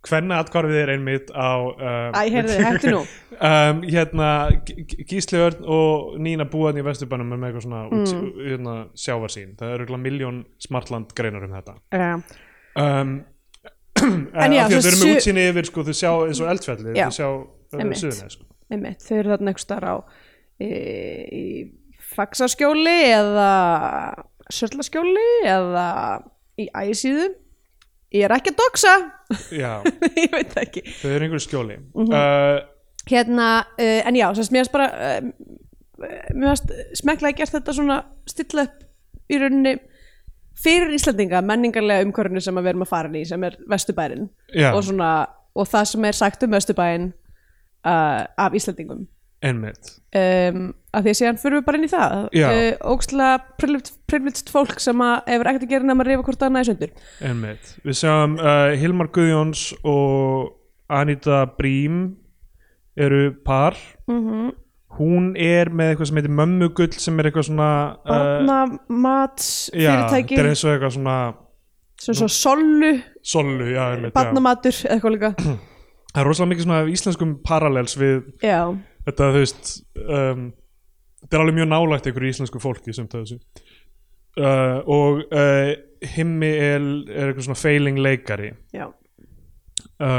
S1: hvenna atkvarfið er einmitt á um,
S2: Æ, heyrðu, hættu nú.
S1: um, hérna, G- G- Gísli Örn og Nína búan í vesturbænum með eitthvað svona mm. hérna, sjávarsýn það eru miljón smartland greinar um þetta
S2: já,
S1: um,
S2: En já,
S1: af því að
S2: svo
S1: þau eru með
S2: sjö-
S1: útsýni yfir sko, þau sjá eins og eldfjalli
S2: Já,
S1: þau sjá uh,
S2: einmitt.
S1: suðunni sko.
S2: einmitt Þau eru þarna einhvers staðar á e, í Faxaskjóli eða Sörlaskjóli eða í Æsíðu Ég er ekki að doxa
S1: já,
S2: Ég veit það ekki
S1: þau eru í einhverju skjóli
S2: Mhm.
S1: uh,
S2: hérna, uh, en já, sérst, mér varst bara uh, mér varst smeklaði gert þetta svona stilla upp í rauninni fyrir Íslandinga menningarlega umhverfinu sem að við erum að fara inn í sem er Vesturbærin
S1: Já.
S2: og, svona, og það sem er sagt um Vesturbæin uh, af Íslandingum
S1: einmitt
S2: um, að því að síðan fyrir við bara inn í það
S1: Já.
S2: ógstlega privileged privileged fólk sem að hefur ekkert að gera nefn að rifa hvort annað í söndur
S1: Einmitt. Við sjáum uh, Hilmar Guðjóns og Anita Brím eru par hún er með eitthvað sem heitir mömmugull sem er eitthvað svona uh,
S2: barna, mat,
S1: já,
S2: Eh, fyrirtæki
S1: þetta er eins og eitthvað svona
S2: sem svo sollu,
S1: solu, já, einmitt, já.
S2: barnamatur eða eitthvað líka
S1: það er rosalega mikið svona af íslenskum parallels við
S2: já,
S1: þetta þú veist um, þetta er alveg mjög nálægt einhverju íslensku fólki sem það þessu uh, og uh, himmi er, er eitthvað svona failing leikari
S2: já
S1: uh,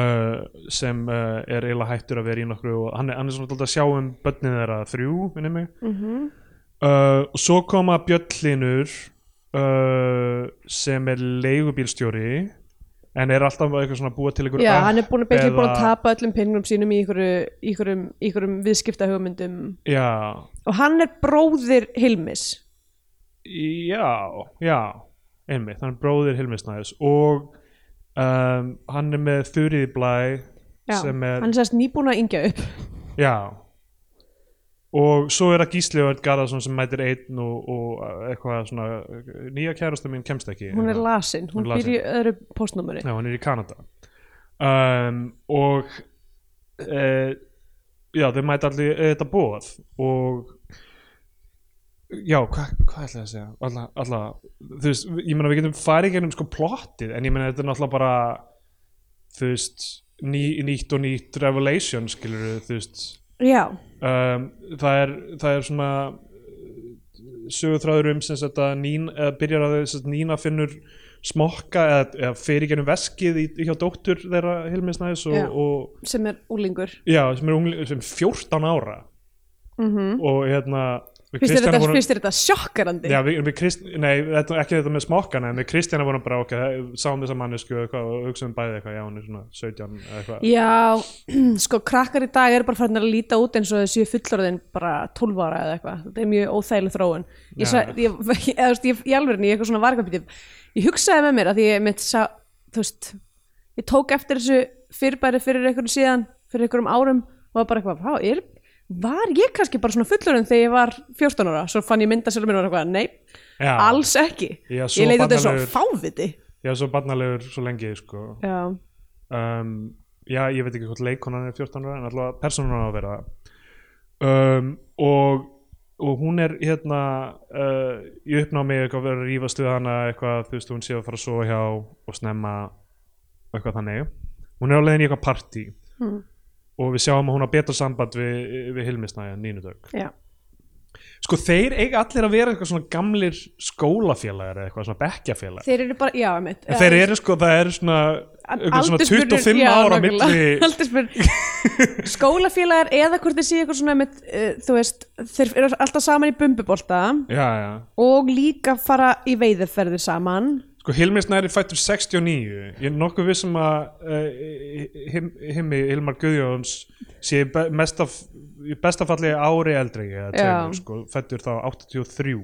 S1: sem uh, er
S2: Mhm.
S1: eiginlega hættur að vera í nokkru og hann er, hann er svona alltaf að sjá um börnin þeirra þrjú minni mig mm uh, og svo koma Bjöllinur uh, sem er leigubílstjóri en er alltaf eitthvað svona að búa til einhver
S2: Já, hann er búin að byggja
S1: eða-
S2: búin að tapa öllum penningum sínum í ykkur, ykkur, ykkur viðskipta hugmyndum
S1: já,
S2: og hann er bróðir Hilmis
S1: Já, já einmitt, hann er bróðir Hilmi Snæðis og um, hann er með Þurriði Blæ
S2: Já,
S1: sem er,
S2: hann er sérst nýbúin að yngja upp
S1: já og svo er það Gísli og Örn Garðarsson sem mætir einn og, og uh, eitthvað svona uh, nýja kærasta mín kemst ekki
S2: hún er lasin, hún,
S1: Hún er
S2: hún
S1: lasin.
S2: býr í öðru postnúmeri
S1: Já, hann er í Kanada um, og uh, já, þau mæta allir eh, þetta bóð og já, hvað hva ætla ég að segja alla, alla, þú veist, ég meina við getum farið í gegnum sko plottið, en ég meina þetta er náttúrulega bara þú veist ný, nýtt og nýtt revelation skilur þú veist
S2: Já,
S1: um, það, er, það er svona sögutráður um sem sagt að nín, eða byrjar að þau sem sagt Nína finnur smokka eða, eða fer í gennum veskið í, hjá dóttur þeirra Hilmisnæðis og,
S2: Já.
S1: og
S2: sem er úlingur
S1: já, sem er ungli, sem 14 ára
S2: mm -hmm.
S1: og hérna við
S2: Fyrst er
S1: Kristjana
S2: þetta,
S1: vorum-
S2: fyrst er þetta sjokkarandi
S1: Já, við, við Krist, nei, þetta, ekki þetta með smokkana en við Kristjana vorum bara okkar, sáum þess að mannesku eitthvað, og hugsaðum bæði eitthvað, já hún er svona 17 eða eitthvað,
S2: Já, sko krakkar í dag eru bara farin að líta út eins og þau séu fullorðin bara 12 ára eða eitthvað, þetta er mjög óþægileg þróun ég, sa,
S1: Já.
S2: ég, ég, eða, þú veist, ég, í alvörinu, ég eitthvað svona vargabíti ég hugsaði með mér að því ég mitt sá, þú veist, ég tók eftir þessu fyrirbæri fyrir einhverjum síðan fyrir einhverjum árum og var bara eitthvað "Vá, er, var ég kannski bara svona fullorðin þegar ég var 14 ára, svo fann ég mynda sér mér og var eitthvað, nei,
S1: já,
S2: alls ekki
S1: Já, svo
S2: ég leiti þetta svo
S1: barnalegur.
S2: fáviti
S1: já, svo barnalegur svo lengi, sko
S2: Já,
S1: um, já, ég veit ekki hvort leikonan er 14 ára en allavega persónan á að vera það. um, og og hún er hérna uh, í uppnámi eitthvað verið að rífast við hana eitthvað, þú veist, hún sé að fara að sofa hjá og snemma og eitthvað þannig hún er á leiðin í eitthvað partí
S2: Mm.
S1: og við sjáum að hún á betra samband við, við Hilmisnæja, Nínudögg
S2: já,
S1: sko þeir eiga allir að vera eitthvað svona gamlir skólafélagar eða eitthvað svona bekkjafélagar
S2: þeir eru bara, já, mitt
S1: En þeir eru sko, það er svona, einhver svona 25 ára milli
S2: milli skólafélagar eða hvort þeir séu eitthvað svona með, uh, þú veist, þeir eru alltaf saman í bumbubolta
S1: Já, já
S2: og líka fara í veiðeferðir saman
S1: Sko Hilmi Snæri fættur 69 Ég er nokkuð vissum að uh, him, Himmi, Hilmar Guðjóns sé í be- mest af í besta falli ári eldri eða
S2: Já.
S1: tveimur, sko, fættur þá 83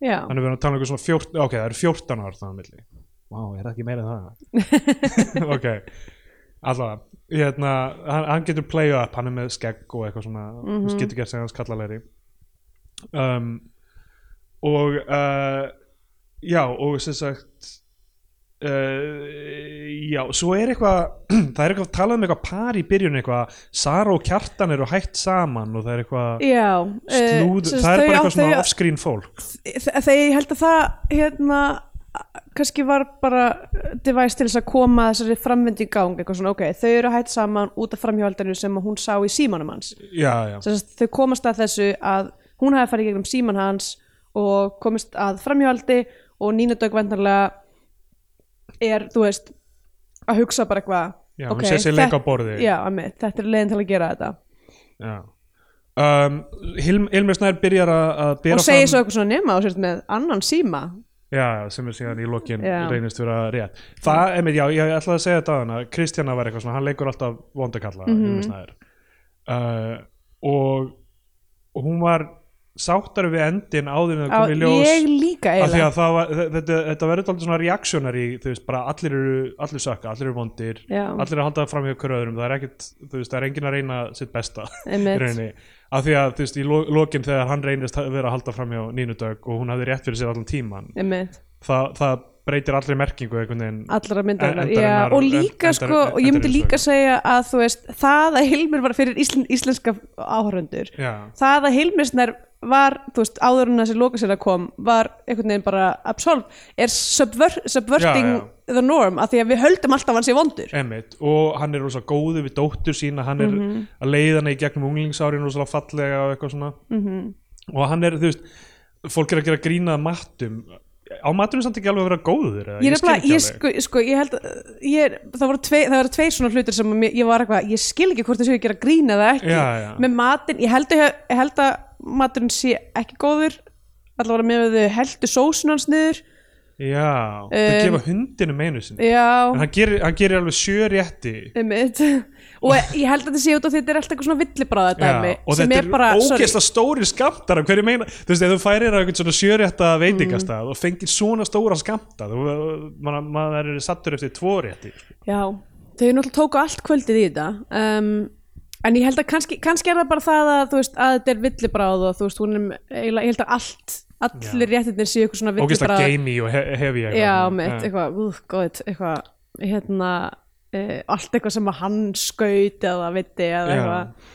S2: já,
S1: Þannig við erum að tala um eitthvað svona 14 Ok, það eru 14 ára þannig að milli Vá, er það ekki meira en það? ok, allavega hérna, hann, hann getur play up, hann er með skegg og eitthvað svona, mm
S2: Mhm.
S1: -hmm. getur gert sig hans kallalegri um, og uh, já, og sem sagt Uh, já, svo er eitthvað það er eitthvað talað um eitthvað par í byrjun eitthvað, Sara og Kjartan eru hætt saman og það er eitthvað
S2: já eh,
S1: slúð,
S2: sem sagt,
S1: það er bara
S2: þau á-
S1: eitthvað svona
S2: þau-
S1: offscreen fólk
S2: þe- þegar ég held að það hérna kannski var bara device til þess að koma þessari framvind í gang eitthvað svona, ok, þau eru hætt saman út af framhjóldinu sem að hún sá í símanum hans
S1: já, já,
S2: Sem sagt, þau komast að þessu að hún hafi farið í gegnum síman hans og komist að framhjóhaldi og Nína Dögg vendarlega er, þú veist að hugsa bara eitthvað
S1: já hún sé sér leik á borði
S2: já, einmitt, þetta er leiðin til að gera þetta
S1: Já. Um, Hilm, Hilmir Snær byrjar að að bera
S2: og segir svo
S1: fram
S2: eitthvað svona nema og sérst með annan síma
S1: já, sem er síðan í lokin
S2: Já.
S1: reynist vera rétt það, emi, já, ég ætlaði að segja þetta að hana Kristjana var eitthvað svona, hann leikur alltaf vondakalla
S2: Mhm.
S1: mm -hmm. Hilmir Snær uh, og, og hún var sáttar við endin áður en það
S2: á,
S1: kom í ljós
S2: ég líka
S1: af því
S2: eiginlega
S1: að það var, þe- þetta, þetta verður alltaf svona reactionary, þú veist, bara allir eru allir sökka, allir eru vondir
S2: Já.
S1: allir eru að halda fram hjá hverju öðrum, það er ekkit þú veist, það er enginn að reyna sitt besta í
S2: einmitt,
S1: rauninni af því að þú veist í lo lokin þegar hann reynist að vera að halda fram hjá Nínu Dögg og hún hafði rétt fyrir sér allan tíman
S2: einmitt
S1: Þa, það breytir allri merkingu einhvern veginn
S2: allra myndarinnar,
S1: En- endarinnar
S2: já,
S1: og-
S2: og líka
S1: en-
S2: sko,
S1: endar-
S2: og ég myndi
S1: endarins
S2: líka
S1: vegna.
S2: segja að þú veist, það að Hilmir var fyrir íslen, íslenska áhörundur
S1: já,
S2: það að Hilmisner var, þú veist, áður en þessi loka sér að kom var einhvern veginn bara absolv er subver subverting
S1: Já,
S2: the norm af því að við höldum alltaf hans í vondur
S1: emitt og hann er rosa góðu við dóttur sína hann er
S2: Mhm.
S1: að leiða hana í gegnum unglingsárin rosa fallega og eitthvað svona
S2: Mhm.
S1: og hann er, þú veist, fólk er að gera grínað mattum á mattum er samt ekki alveg að vera góður eða,
S2: ég,
S1: skil
S2: nefnilega,
S1: ekki
S2: ég,
S1: alveg.
S2: sko, sko, ég held að- ég, það, voru tvei, það voru tvei svona hlutir sem mér, ég var eitthvað, ég skil ekki hvort þessu ekki að gera grína það ekki
S1: Já, já.
S2: með matinn, ég held, að- ég held að maturinn sé ekki góður allavega með að þau heldu sósun hans niður
S1: Já, þau
S2: Um,
S1: gefa hundinum einu sinni
S2: já,
S1: En hann gerir, hann gerir alveg sjö rétti
S2: einmitt og ég held að þetta sé út af því að þetta er alltaf eitthvað svona villibráða dæmi
S1: og
S2: sem
S1: þetta
S2: er bara,
S1: er
S2: sorry,
S1: ógeðslega stóri skamtar af hverju meina, þú veist, ef þú færir á einhvern svona sjörétta veitingastað og fengir svona stóra skamta, þú, maður, maður er sattur eftir tvo rétti sko.
S2: já þau náttúrulega tóku allt kvöldið í þetta um, en ég held að kannski, kannski er það bara það að, þú veist, að þetta er villibráð og þú veist, hún er, eiginlega- ég held að allt allir réttirnir séu eitthvað svona
S1: ógeðslega
S2: villibráð
S1: gamey og he hefi
S2: já, mitt, eitthvað, úh, góðið eitthvað, hérna uh, allt eitthvað sem að hann skaut eða viti eða eitthvað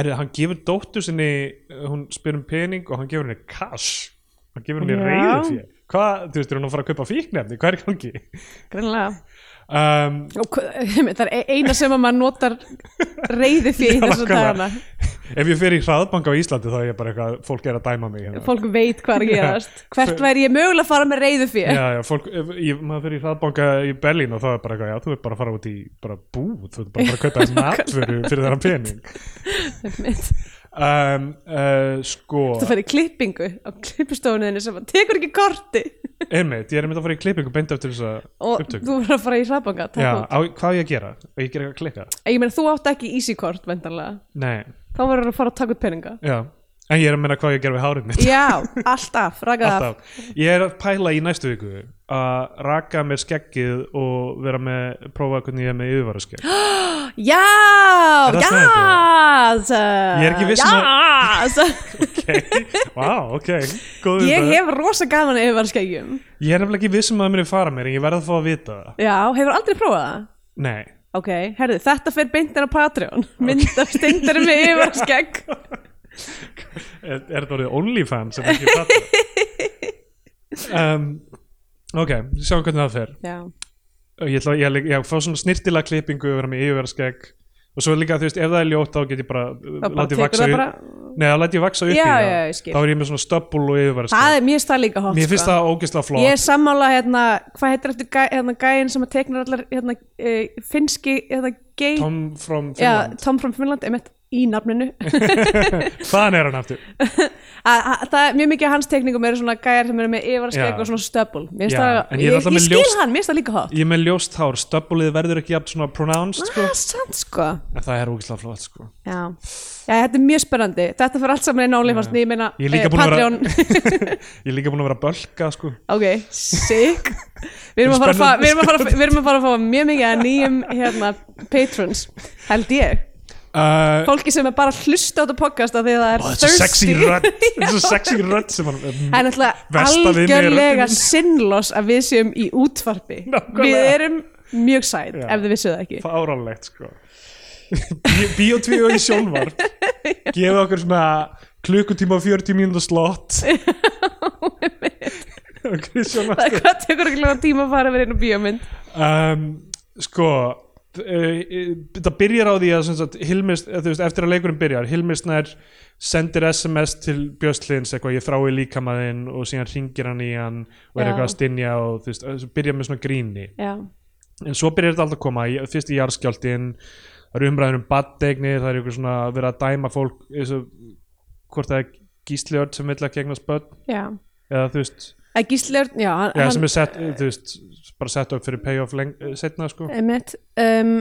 S1: Herri, hann gefur dóttur sinni hún spyr um pening og hann gefur henni cash hann gefur henni
S2: Já.
S1: reyðu fyrir hvað, þú veist, er hún að fara að kaupa fíknefni hvað er í gangi
S2: greinlega
S1: um,
S2: og hva- einmitt, það er e-, eina sem að maður notar reyði fyrir í
S1: Já,
S2: þessu
S1: nákvæmlega.
S2: dagana
S1: ef ég fer í hraðbanka á Íslandi þá er ég bara eitthvað, fólk er að dæma mig hérna.
S2: fólk veit hvað er að
S1: Já.
S2: gerast hvert væri ég mögulega að fara með reyðu fyrir
S1: já, já, fólk, ef, ég, maður fyrir í hraðbanka í Berlín og þá er bara eitthvað, já, þú ert bara að fara út í bara búð, þú ert bara að fara að kaupa þess matföru fyrir þennan pening
S2: þú
S1: um, uh, sko,
S2: fyrir klippingu á klippustofunniðinni sem að tekur ekki korti
S1: einmitt, ég er einmitt að fara í klippingu beint eftir þessa
S2: og
S1: upptöku
S2: þú verður að fara í hraðbanga að taka
S1: já,
S2: út.
S1: á, hvað á ég að gera? Á ég að gera eitthvað klikka?
S2: ég meina þú átt ekki easy kort vendanlega
S1: Nei,
S2: þá verður að fara að taka út peninga
S1: já en ég er að menna hvað á ég að gera við hárið mitt
S2: já, alltaf, rakað af
S1: Alltaf. Ég er að pæla í næstu viku að raka mér skeggið og vera með, prófa hvernig ég er með yfirvara
S2: já,
S1: Er það
S2: já
S1: Ég er ekki viss um
S2: já
S1: ok, wow, ok Góð
S2: ég
S1: umræða.
S2: hef rosa gaman yfir að skeggjum
S1: Ég er nefnilega ekki viss um að það muni fara mér en ég verð að fá að vita það.
S2: já, hefur aldrei prófað það
S1: Nei.
S2: Ok, herðu, þetta fer beintin á Patreon Mynd af steindarum með yfir skegg
S1: Er, er þetta orðið OnlyFans sem ekki fattar? um, ok, sjáum hvernig það fer.
S2: Já,
S1: Ég, ætla, ég, ég, ég fá svona snirtilega klippingu yfir með yfirverðskegg og svo líka, þú veist, ef það er ljótt þá get ég bara,
S2: þá
S1: uh,
S2: bara
S1: látið
S2: tekur
S1: vaksa
S2: það
S1: upp.
S2: bara
S1: Nei, þá læt ég vaksa upp
S2: Já,
S1: í það.
S2: já, ég skil.
S1: Þá er ég með svona stöbbul og
S2: Það
S1: yfirverðskegg.
S2: er, mér finnst það líka hot
S1: Mér finnst
S2: sko.
S1: það ógeðslega flott.
S2: Ég er sammála hérna, hvað heitir eftir gæ, hérna, gæin sem að teknar allar hérna, uh, finski, hérna, gay
S1: Tom from
S2: Já,
S1: Finland.
S2: Tom from Finland, einmitt í nafninu
S1: Þann er hann aftur.
S2: Að- að- það er mjög mikið af hans tekningum eru svona gæjar sem eru með yfarskegg
S1: Já.
S2: og svona stöbul mér finnst
S1: Já,
S2: það,
S1: en ég er
S2: ég,
S1: alltaf
S2: ég
S1: með
S2: skil
S1: ljóst-
S2: hann, mér finnst það líka hot
S1: Ég er með ljóst hár, stöbbulið verður ekki jafn svona pronounced, sko.
S2: ah, sant sko
S1: En það er ógeðslega flott, sko.
S2: já. já, þetta er mjög spennandi þetta fyrir allt saman einn áleifast ég meina,
S1: Ég er líka
S2: eh,
S1: búin að vera-
S2: Patreon
S1: Ég er líka búin að vera að bölka, sko.
S2: ok, sick við erum að fara að fá-
S1: Spennandi,
S2: við erum að fara að- við erum að fara að fá mjög mikið að nýjum hérna, patrons, held ég
S1: Uh,
S2: fólki sem er bara að hlusta á þetta podcast af því að það
S1: Ó,
S2: er
S1: þetta er svo sexy
S2: thirsty
S1: rödd Þetta er svo sexy rödd sem hann
S2: það er náttúrulega
S1: Versta við mig er
S2: algjörlega
S1: röddin.
S2: sinnloss að við séum í útvarpi
S1: Nákvæmlega.
S2: við erum mjög sæt
S1: Já.
S2: ef þið vissu það ekki
S1: fáránlegt sko Bíotvíu í sjálfar gefið okkur svona klukkutíma og 40 mínútur slott okkur í
S2: það
S1: sjónvarp.
S2: er hvað tekur ekki tíma að fara að vera inn á bíómynd
S1: um, sko eh, það byrjar á því að sem sagt, Hilmis, eða, þú veist, eftir að leikurinn byrjar Hilmisnær sendir SMS til Björslins eitthvað ég þrái líkamaðinn og síðan ringir hann í hann og er
S2: Já.
S1: eitthvað að stinja og þú veist, byrja með svona gríni
S2: já,
S1: en svo byrjar þetta alltaf að koma í- fyrst í jarðskjáltin það eru umræður um baddegnir það eru ykkur svona að vera að dæma fólk eins og hvort það er gísliörd sem vill að gegnast börn
S2: já
S1: eða þú veist,
S2: að gíslegur, já, hann,
S1: eða sem er sett þú veist, bara sett upp fyrir payoff leng, setna sko
S2: Einmitt, um,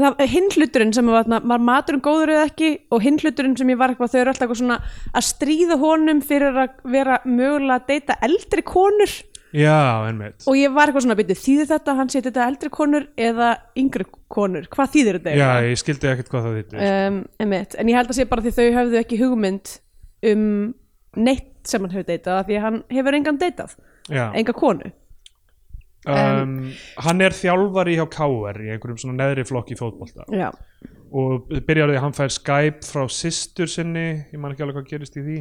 S2: það, hinn hluturinn sem var, þarna, var maturinn góður eða ekki og hinn hluturinn sem ég var eitthvað þau eru alltaf eitthvað svona að stríða honum fyrir að vera mögulega að deyta eldri konur
S1: já, einmitt
S2: og ég var eitthvað svona að byrja þýðir þetta, hann sé þetta eldri konur eða yngri konur, hvað þýðir þetta?
S1: já,
S2: eiginlega?
S1: ég skildi ekkert hvað það þýttir
S2: um, einmitt, en ég held að sé bara því þau höfðu ekki hugmynd um neitt sem hann hefur deytað af því að hann hefur engan deytað,
S1: já,
S2: enga konu
S1: um, hann er þjálfari hjá KR í einhverjum svona neðri flokki fótbolta
S2: Já,
S1: og byrjar á því að hann fær Skype frá systur sinni ég man ekki alveg hvað gerist í því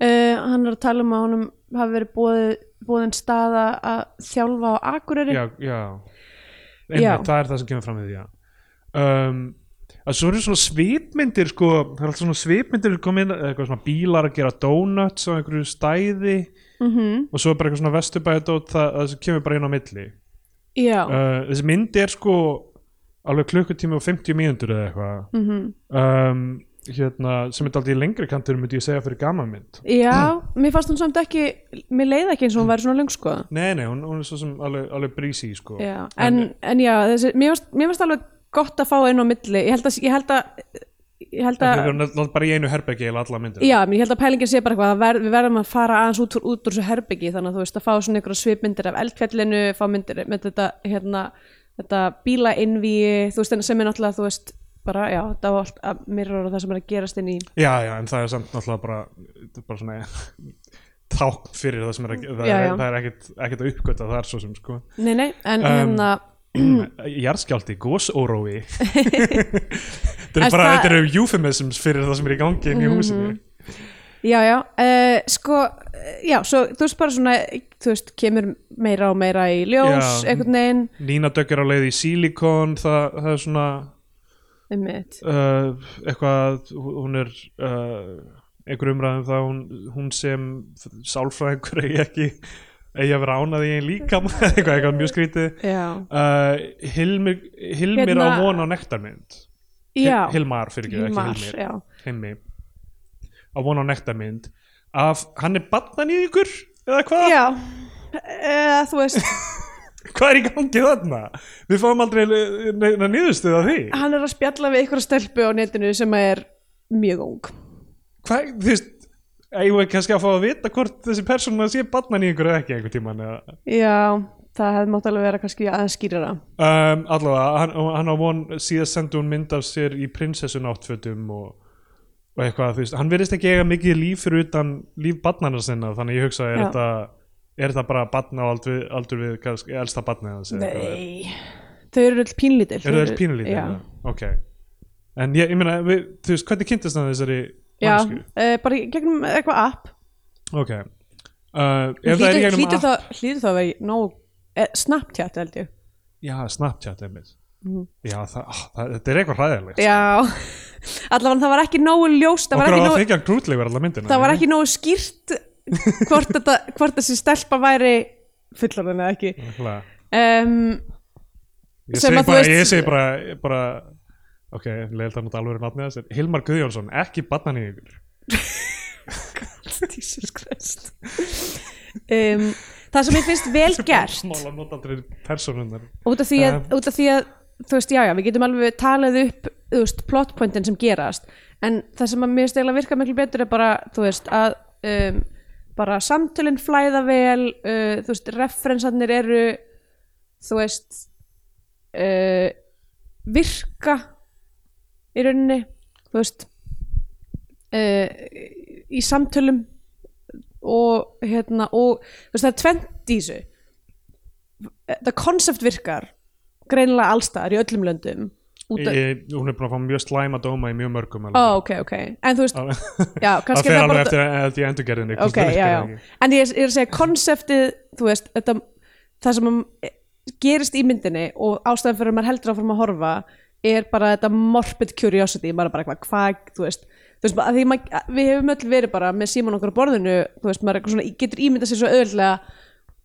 S2: Uh, hann er að tala um að honum hafi verið boðið, boðin staða að þjálfa á Akureyri
S1: já, já. Einmitt,
S2: Já.
S1: það er það sem kemur fram við því já. um, að svo eru svona svipmyndir sko, það er alltaf svona svipmyndir komin, eitthvað svona bílar að gera donuts á einhverju stæði
S2: Mhm.
S1: og svo er bara eitthvað svona vesturbæðadót það, það sem kemur bara inn á milli
S2: Já,
S1: uh, þessi mynd er sko alveg klukkutími og 50 mínútur eða eitthvað
S2: mhm.
S1: um, hérna, sem er aldrei lengri kantur myndi ég segja fyrir gamanmynd
S2: Já, mér fannst hún samt ekki mér leiði ekki eins og hún væri svona löng sko
S1: nei, nei, hún, hún er svo sem alveg, alveg brísi sko.
S2: já, en, en já, þessi, mér varst, mér varst alveg gott að fá inn á milli ég held að ég held að, ég held
S1: það
S2: að
S1: er náttúrulega bara í einu herbergi eða alla myndir
S2: Já, menn ég held að pælingin sé bara eitthvað að ver, við verðum að fara aðeins út úr, út úr þessu herbyggi þannig að þú veist að fá svona einhverja svipmyndir af eldfjallinu, fá myndir með þetta, hérna, þetta bílainvíi þú veist, en sem er náttúrulega, þú veist bara, já, þetta var allt að mirror og það sem er að gerast inn í
S1: já, já, en það er samt náttúrulega bara, þetta er bara svona tákn fyrir það sem er, að, það,
S2: Já,
S1: er,
S2: já.
S1: það er ekkit, ekkit að uppgöta það er svo sem sko
S2: Nei, nei, en
S1: Um,
S2: hérna
S1: jarðskjálti, gósórói þetta
S2: En
S1: er bara,
S2: það- Mhm.
S1: þetta eru eufemisms fyrir það sem er í gangi inn í húsinu
S2: Já, já, uh, sko, eh, já, svo, þú veist bara svona, þú veist, kemur meira og meira í ljós,
S1: Já.
S2: einhvern veginn,
S1: Nína Dögg er á leið í sílikon það, það er svona
S2: um mitt,
S1: uh, eitthvað hún er uh, einhver umræðum það hún, hún sem sálfræðingur eigi ekki eigi að vera ánað í einn líkam eitthvað, eitthvað mjög skrítið
S2: já,
S1: uh, Hilmir, Hilmir á
S2: Hérna-
S1: von á nektarmynd
S2: já,
S1: Hil- Hilmar fyrir ekki,
S2: Hilmar,
S1: ekki Hilmir
S2: já,
S1: Hilmi á von á nektarmynd af hann er batnan í ykkur eða hvað?
S2: já, uh, þú veist,
S1: Hvað er í gangi þarna? Við fáum aldrei neina niðurstuð af því.
S2: hann er að spjalla við einhverja stelpu á netinu sem er mjög ung.
S1: hvað, þú veist eigum við kannski að fá að vita hvort þessi persóna sé barnan í einhverju eða ekki einhver tíman eða
S2: Já, það hefði mátt alveg vera kannski aðeins skýrara.
S1: um, allavega, hann, hann á von síðast sendi hún mynd af sér í prinsessun áttfötum og, og eitthvað, þú veist hann verðist ekki eiga mikið líf fyrir utan líf barnana sinna, þannig að ég hugsa er
S2: Já.
S1: þetta er þetta bara barna á aldur við, aldur við kannski, elsta barnið hans eða eitthvað?
S2: Nei, þau eru öll pínlítil.
S1: eru það pínulítið?
S2: Já,
S1: eða? ok en ég, ég meina, við, þú veist, hvernig kynntist hann þessari
S2: já
S1: mannsku?
S2: uh, bara í gegnum eitthvað app.
S1: ok uh, ef það er í
S2: Hlýtur
S1: gegnum
S2: hlýtur
S1: app-
S2: það hlýtur það að vera í nóg, eh, Snapchat held ég.
S1: Já, Snapchat einmitt Já, það, á, það, þetta er eitthvað hræðilegt
S2: Mhm. Já, allavega það var ekki nógu ljóst, það var
S1: Okkur á
S2: ekki
S1: að
S2: nógu,
S1: þykja grútlegur allar myndina
S2: það var ekki nógu skýrt hvort, þetta, hvort þessi stelpa væri fullarinn eða ekki.
S1: Nákvæmlega.
S2: Um,
S1: Ég
S2: Sem
S1: segi
S2: að þú
S1: bara,
S2: veist-
S1: ég segi bara, bara Ok, leil það nút alveg nafnið þessir Hilmar Guðjónsson, ekki bannan í ykkur
S2: Jesus Christ. Um, það sem ég finnst vel gert,
S1: Smála notaldri persónunar
S2: út af því að, út af því að þú veist, já, já, við getum alveg talað upp þú veist, plotpointin sem gerast en það sem að mér stegla virka miklu betur er bara, þú veist, að um, bara samtölinn flæða vel uh, þú veist, referensarnir eru þú veist uh, virka í rauninni þú veist uh, í samtölum og hérna og þú veist, það er tvent í þessu þetta konsept virkar greinilega allstaðar í öllum löndum út af,
S1: ég, Hún er búin að fá mjög slæma dóma í mjög mörgum
S2: ó
S1: alveg.
S2: ok, ok en þú veist,
S1: Alveg.
S2: já,
S1: Það
S2: kannski
S1: fer
S2: er
S1: alveg eftir, eftir endurgerðinni hvort
S2: ok,
S1: það virkar
S2: já,
S1: eða
S2: já,
S1: ekki.
S2: en ég, ég er að segja konseptið, þú veist, þetta það sem eh, gerist í myndinni og ástæðan fyrir að maður heldur áfram að horfa er bara þetta morbid curiosity maður er bara eitthvað, hvað, þú veist þú veist, að því maður, að við hefum öll verið bara með síman okkur á borðinu, þú veist, maður er eitthvað svona getur ímyndað sér svo öðvöldlega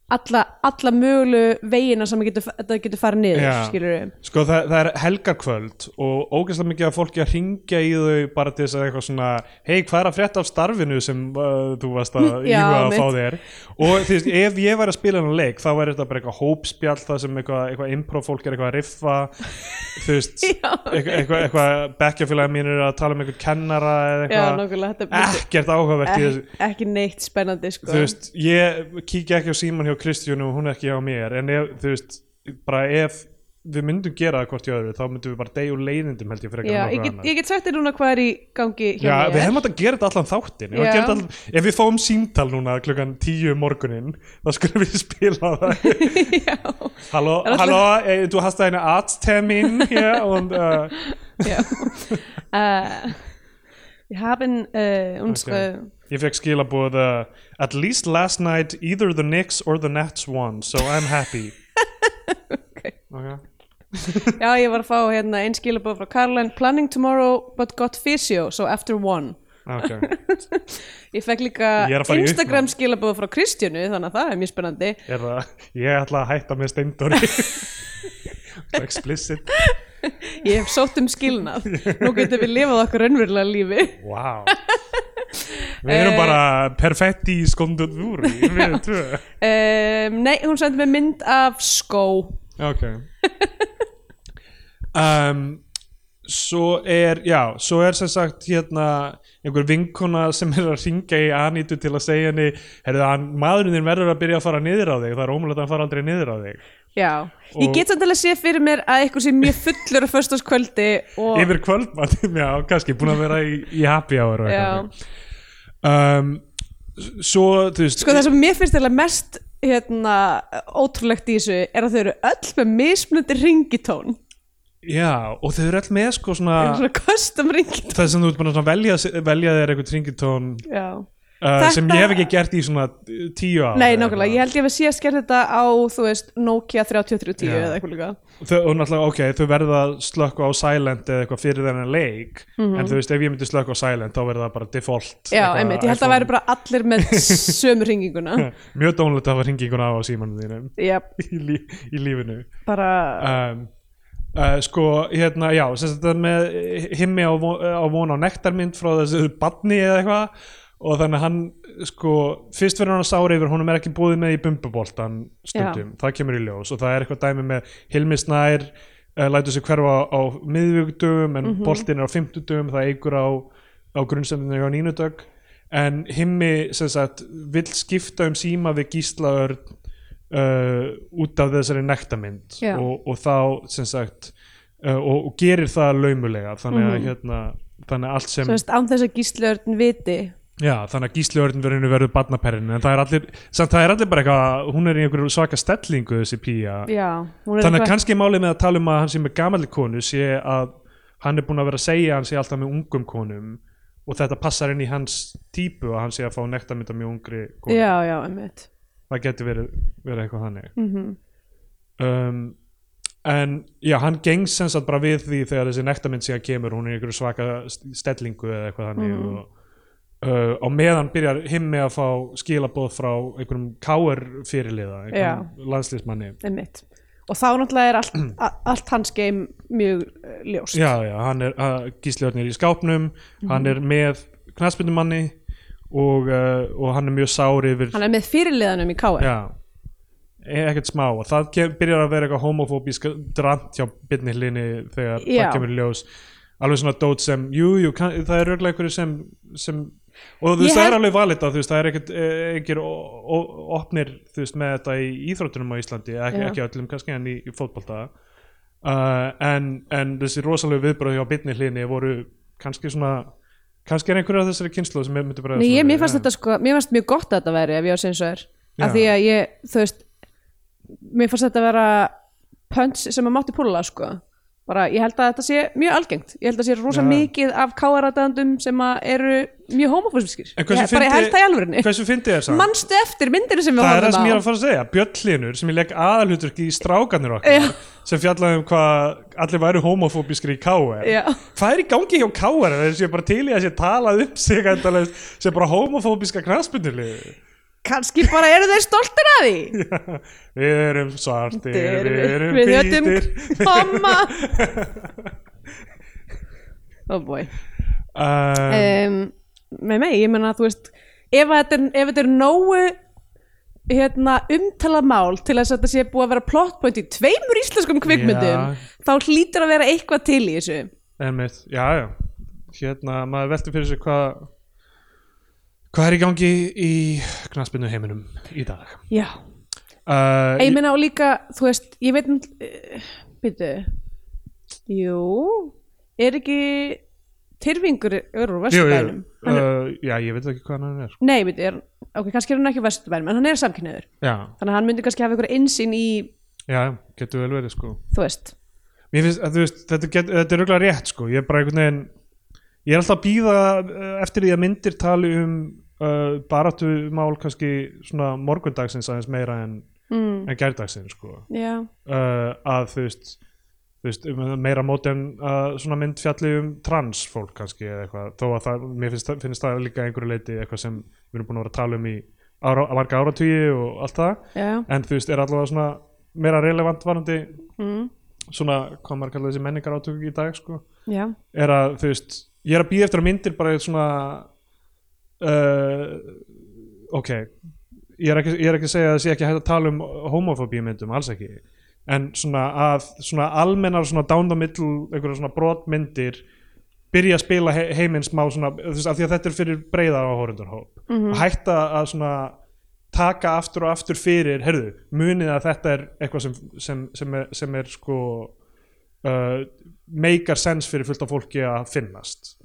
S2: alla, alla mögulegu vegina sem getur, þetta getur farið niður,
S1: Já.
S2: skilur við
S1: Sko það, það er helgarkvöld og ógeðslega mikið af fólki að ringja í þau bara til þess að eitthvað svona hei hvað er að frétta af starfinu sem uh, þú varst að
S2: Já,
S1: íhuga að fá
S2: mitt.
S1: þér og þú veist ef ég væri að spila hann leik þá væri þetta bara eitthvað hópspjall það sem eitthvað, eitthvað improv fólk er eitthvað að riffa þú veist
S2: Já,
S1: eitthvað, eitthvað, eitthvað bekkjafélagi mín er að tala um eitthvað kennara eða
S2: Já,
S1: eitthvað
S2: nákvæmlega, þetta myndi-
S1: ekkert áhugavert í þessu
S2: ekki, ekki neitt spennandi sko.
S1: þú veist, ég kíkja ekki á síman hjá Kristjánu og hún ekki á mér en ef, þú veist, bara ef við myndum gera það hvort í öðru þá myndum við bara deyja úr leiðindum held ég frekar en
S2: Já, ég,
S1: nokkuð
S2: get,
S1: annað.
S2: ég get sagt þér núna hvað er í gangi hjá
S1: Já,
S2: mér.
S1: við hefum átt að gera þetta allan þáttinn ef, við
S2: Já.
S1: gerum þetta allan, ef við fáum síntal núna klukkan tíu morgunin þá skulum við spila það
S2: já,
S1: Halló,
S2: Er alltaf-
S1: halló, eh, du hast eine Arzttermin hér und uh,
S2: já. Uh, wir haben äh, unsere...
S1: ég fekk skilabóð uh, At least last night either the Knicks or the Nets won so I'm happy
S2: Okay.
S1: okay.
S2: Já, ég var að fá hérna einn skilabóð frá Karlen Planning tomorrow but got physio, so after one.
S1: Okay.
S2: Ég fekk líka
S1: Ég er að fara í
S2: Instagram skilabóð frá Kristjánu, þannig að það er mjög spennandi.
S1: er það, ég ætla að hætta með steindóri explicit
S2: ég hef sótt um skilnað nú getum við lifað okkur önverulega lífi
S1: Vá Við erum
S2: Eh.
S1: bara perfetti í skondundur Við tvö
S2: um, nei, hún sendi mig mynd af skó
S1: Ok um, Svo er, já, svo er sem sagt hérna einhver vinkona sem er að ringa í Anitu til að segja henni herðu, hann, maðurinn þinn verður að byrja að fara niður á þig það er ómulegt að hann fara aldrei niður á þig
S2: já,
S1: Og-
S2: ég get samt alveg að sé fyrir mér að eitthvað sé mjög fullur á föstaskvöldi og
S1: yfir kvöldmannum, já, kannski búin að vera í, í happy hour og
S2: Já.
S1: eitthvað um, Svo, þú veist
S2: sko það sem mér finnst alveg mest hérna, ótrúlegt í þessu er að þau eru öll með mismunandi ringitón
S1: Já, og þau eru all með sko svona
S2: ah. svona custom ringitón
S1: það sem þú ert búin að svona velja, velja þér eitthvað ringitón uh,
S2: já.
S1: sem
S2: Þetta-
S1: ég hef ekki gert í svona uh, tíu ára
S2: nei, nákvæmlega, ég held ég að sé að skert þetta á þú veist, Nokia 3310
S1: Já.
S2: eða eitthvað líka
S1: þau, og náttúrulega, ok, þau verða að slökka á silent eða eitthvað fyrir þennan leik en þú veist, ef ég myndi slökka á silent þá verður það bara default
S2: Mhm. já,
S1: eitthvað
S2: einmitt, ég held að
S1: iPhone.
S2: það væri bara allir með sömu ringinguna
S1: mjög dónlegt að hafa ringinguna á á símanum þínum
S2: já,
S1: í, lí, í lífinu
S2: bara
S1: um, uh, sko hérna já, sem sagt þetta með himmi á, von- á von á nektarmynd frá þessu badni eða eitthvað og þannig að hann sko, fyrst verður hann sári yfir honum er ekki búið með í bumbuboltan stundum, það kemur í ljós og það er eitthvað dæmi með Hilmi Snær uh, lætur sig hverfa á, á miðvíkdugum en mm boltin er á fimmtudugum, það eigur á, á grunnstöndinu hjá nínudögg en himmi sem sagt vill skipta um síma við gíslaörn uh, út af þessari nektamynd
S2: Já.
S1: og, og þá sem sagt uh, og, og gerir það laumulega þannig að hérna þannig að allt sem
S2: svo Mhm. veist, án þess að gíslörn viti
S1: Já, þannig að gísliörðin verður verður barnaperrin en það er allir, samt það er allir bara eitthvað hún er í einhverju svaka stellingu þessi pía
S2: já, hún
S1: þannig
S2: er
S1: að
S2: eitthvað
S1: kannski málið með að tala um að hann sé með gamalli konu sé að hann er búin að vera að segja að hann sé alltaf með ungum konum og þetta passar inn í hans típu að hann sé að fá nektarmynda mjög ungri konu
S2: já, já, einmitt
S1: það getur verið, verið eitthvað þannig
S2: mm
S1: um, en já, hann gengst sem sagt bara við því þegar þessi nektarmynd síðan kemur hún er í einhverju svaka st- stellingu eða eitthvað þannig
S2: Mhm.
S1: og uh, á meðan byrjar himmi að fá skilaboð frá einhverjum káer fyrirliða, einhverjum landslýsmanni
S2: einmitt og þá náttúrulega er allt, a- allt hans game mjög uh, ljóst
S1: já, já, hann er, uh, gísliðarnir er í skápnum hann er með knassbyndumanni og, uh, og hann er mjög sár yfir
S2: hann er með fyrirliðanum í KR
S1: Já E- ekkert smá og það kem, byrjar að vera eitthvað homofóbísk drant hjá byrni hlinni þegar
S2: Já.
S1: það kemur í ljós alveg svona dót sem, jú, jú, kann, það er örugglega einhverju sem, sem og þú
S2: Ég
S1: veist, það er
S2: held-
S1: alveg valita, þú veist, það er ekkert e, einhver o- o- opnir, þú veist, með þetta í íþróttunum á Íslandi, ekki,
S2: Já.
S1: ekki öllum kannski en í, í fótbolta uh, en, en þessi rosalegu viðbröð hjá byrni hlinni voru kannski svona kannski er einhverju af þessari kynslu sem myndi bara
S2: Nei, ég, mér fannst þetta sko, mér fannst mjög gott að þetta væri ef ég á sinns og er
S1: Já.
S2: af því að ég, þú veist mér fannst þetta vera punch sem að mátti púla sko bara, ég held að þetta sé mjög algengt ég held að sé rosa
S1: Já.
S2: mikið af káaradæðandum sem að eru mjög homofósfiskir
S1: En
S2: ég,
S1: hversu
S2: bara ég
S1: fyndi-
S2: held það í alvörinni
S1: Hversu fyndið er samt?
S2: manstu eftir myndinu sem við
S1: það er það sem ég er
S2: horfum
S1: að fara að segja Björn Hlinur sem ég legg aðalhuturki í strákanir okkar sem fjallaði um hvað allir væru homofóbískri í K.R.
S2: Já.
S1: hvað er í gangi hjá K.R. þeir séu bara til í að sé talað upp sig endalaust, sé bara homofóbíska knarspinnuliðu
S2: kannski bara eru þeir stoltir að því
S1: við erum svartir,
S2: Þeir-
S1: við erum
S2: við höfum
S1: hvítir
S2: mamma oh boy
S1: um,
S2: um, með mig, ég meina þú veist ef að þetta er, ef þetta er nógu hérna, umtalað mál til þess að þetta sé búið að vera plottpoint í tveimur íslenskum kvikmyndum
S1: Já.
S2: þá hlýtur að vera eitthvað til í þessu
S1: Einmitt, já, já Hérna, maður veltur fyrir sér hvað hvað er í gangi í knarspinnu heiminum í dag
S2: já,
S1: uh,
S2: ég meina og líka þú veist, ég veit uh, býtu jú, er ekki Tyrfingur er úr
S1: jú, jú,
S2: Vesturbænum
S1: uh, já, ég veit ekki hvað hann er
S2: nei, býtu, er, ok, kannski er hann ekki úr Vesturbænum en hann er samkynniður,
S1: já,
S2: þannig að hann myndi kannski hafa einhver insýn í,
S1: Já, getur vel verið sko
S2: þú veist
S1: Mér finnst, að, þú veist, þetta, get, þetta er auðvitað rétt sko Ég er bara einhvern veginn Ég er alltaf að býða eftir því að myndir tali um uh, baráttumál kannski svona morgundagsins aðeins meira en,
S2: mm,
S1: en gærdagsins sko
S2: já,
S1: uh, að þú veist, þú veist um- meira móti en uh, svona mynd fjalli um trans fólk kannski eða eitthvað þó að það, mér finnst, það- finnst það líka að einhverju leiti eitthvað sem við erum búin að vera að tala um í ára, marga áratugi og allt það
S2: já
S1: en þú veist, er allavega svona meira relevant varandi
S2: mm.
S1: svona, hvað maður kallar þessi menningar átök í dag sko,
S2: já,
S1: er að þú veist, ég er að býja eftir að myndir bara svona uh, ok ég er, ekki, ég er ekki að segja að það sé ekki hægt að tala um homofóbíu myndum, alls ekki en svona að svona almennar svona down the middle, einhverja svona brotmyndir byrja að spila he heiminn smá svona, þú veist, af því að þetta er fyrir breiðar áhórundunhóp, mm -hmm. hætta að svona taka aftur og aftur fyrir herðu, munið að þetta er eitthvað sem, sem, sem, er, sem er sko uh, meikar sens fyrir fullt af fólki að finnast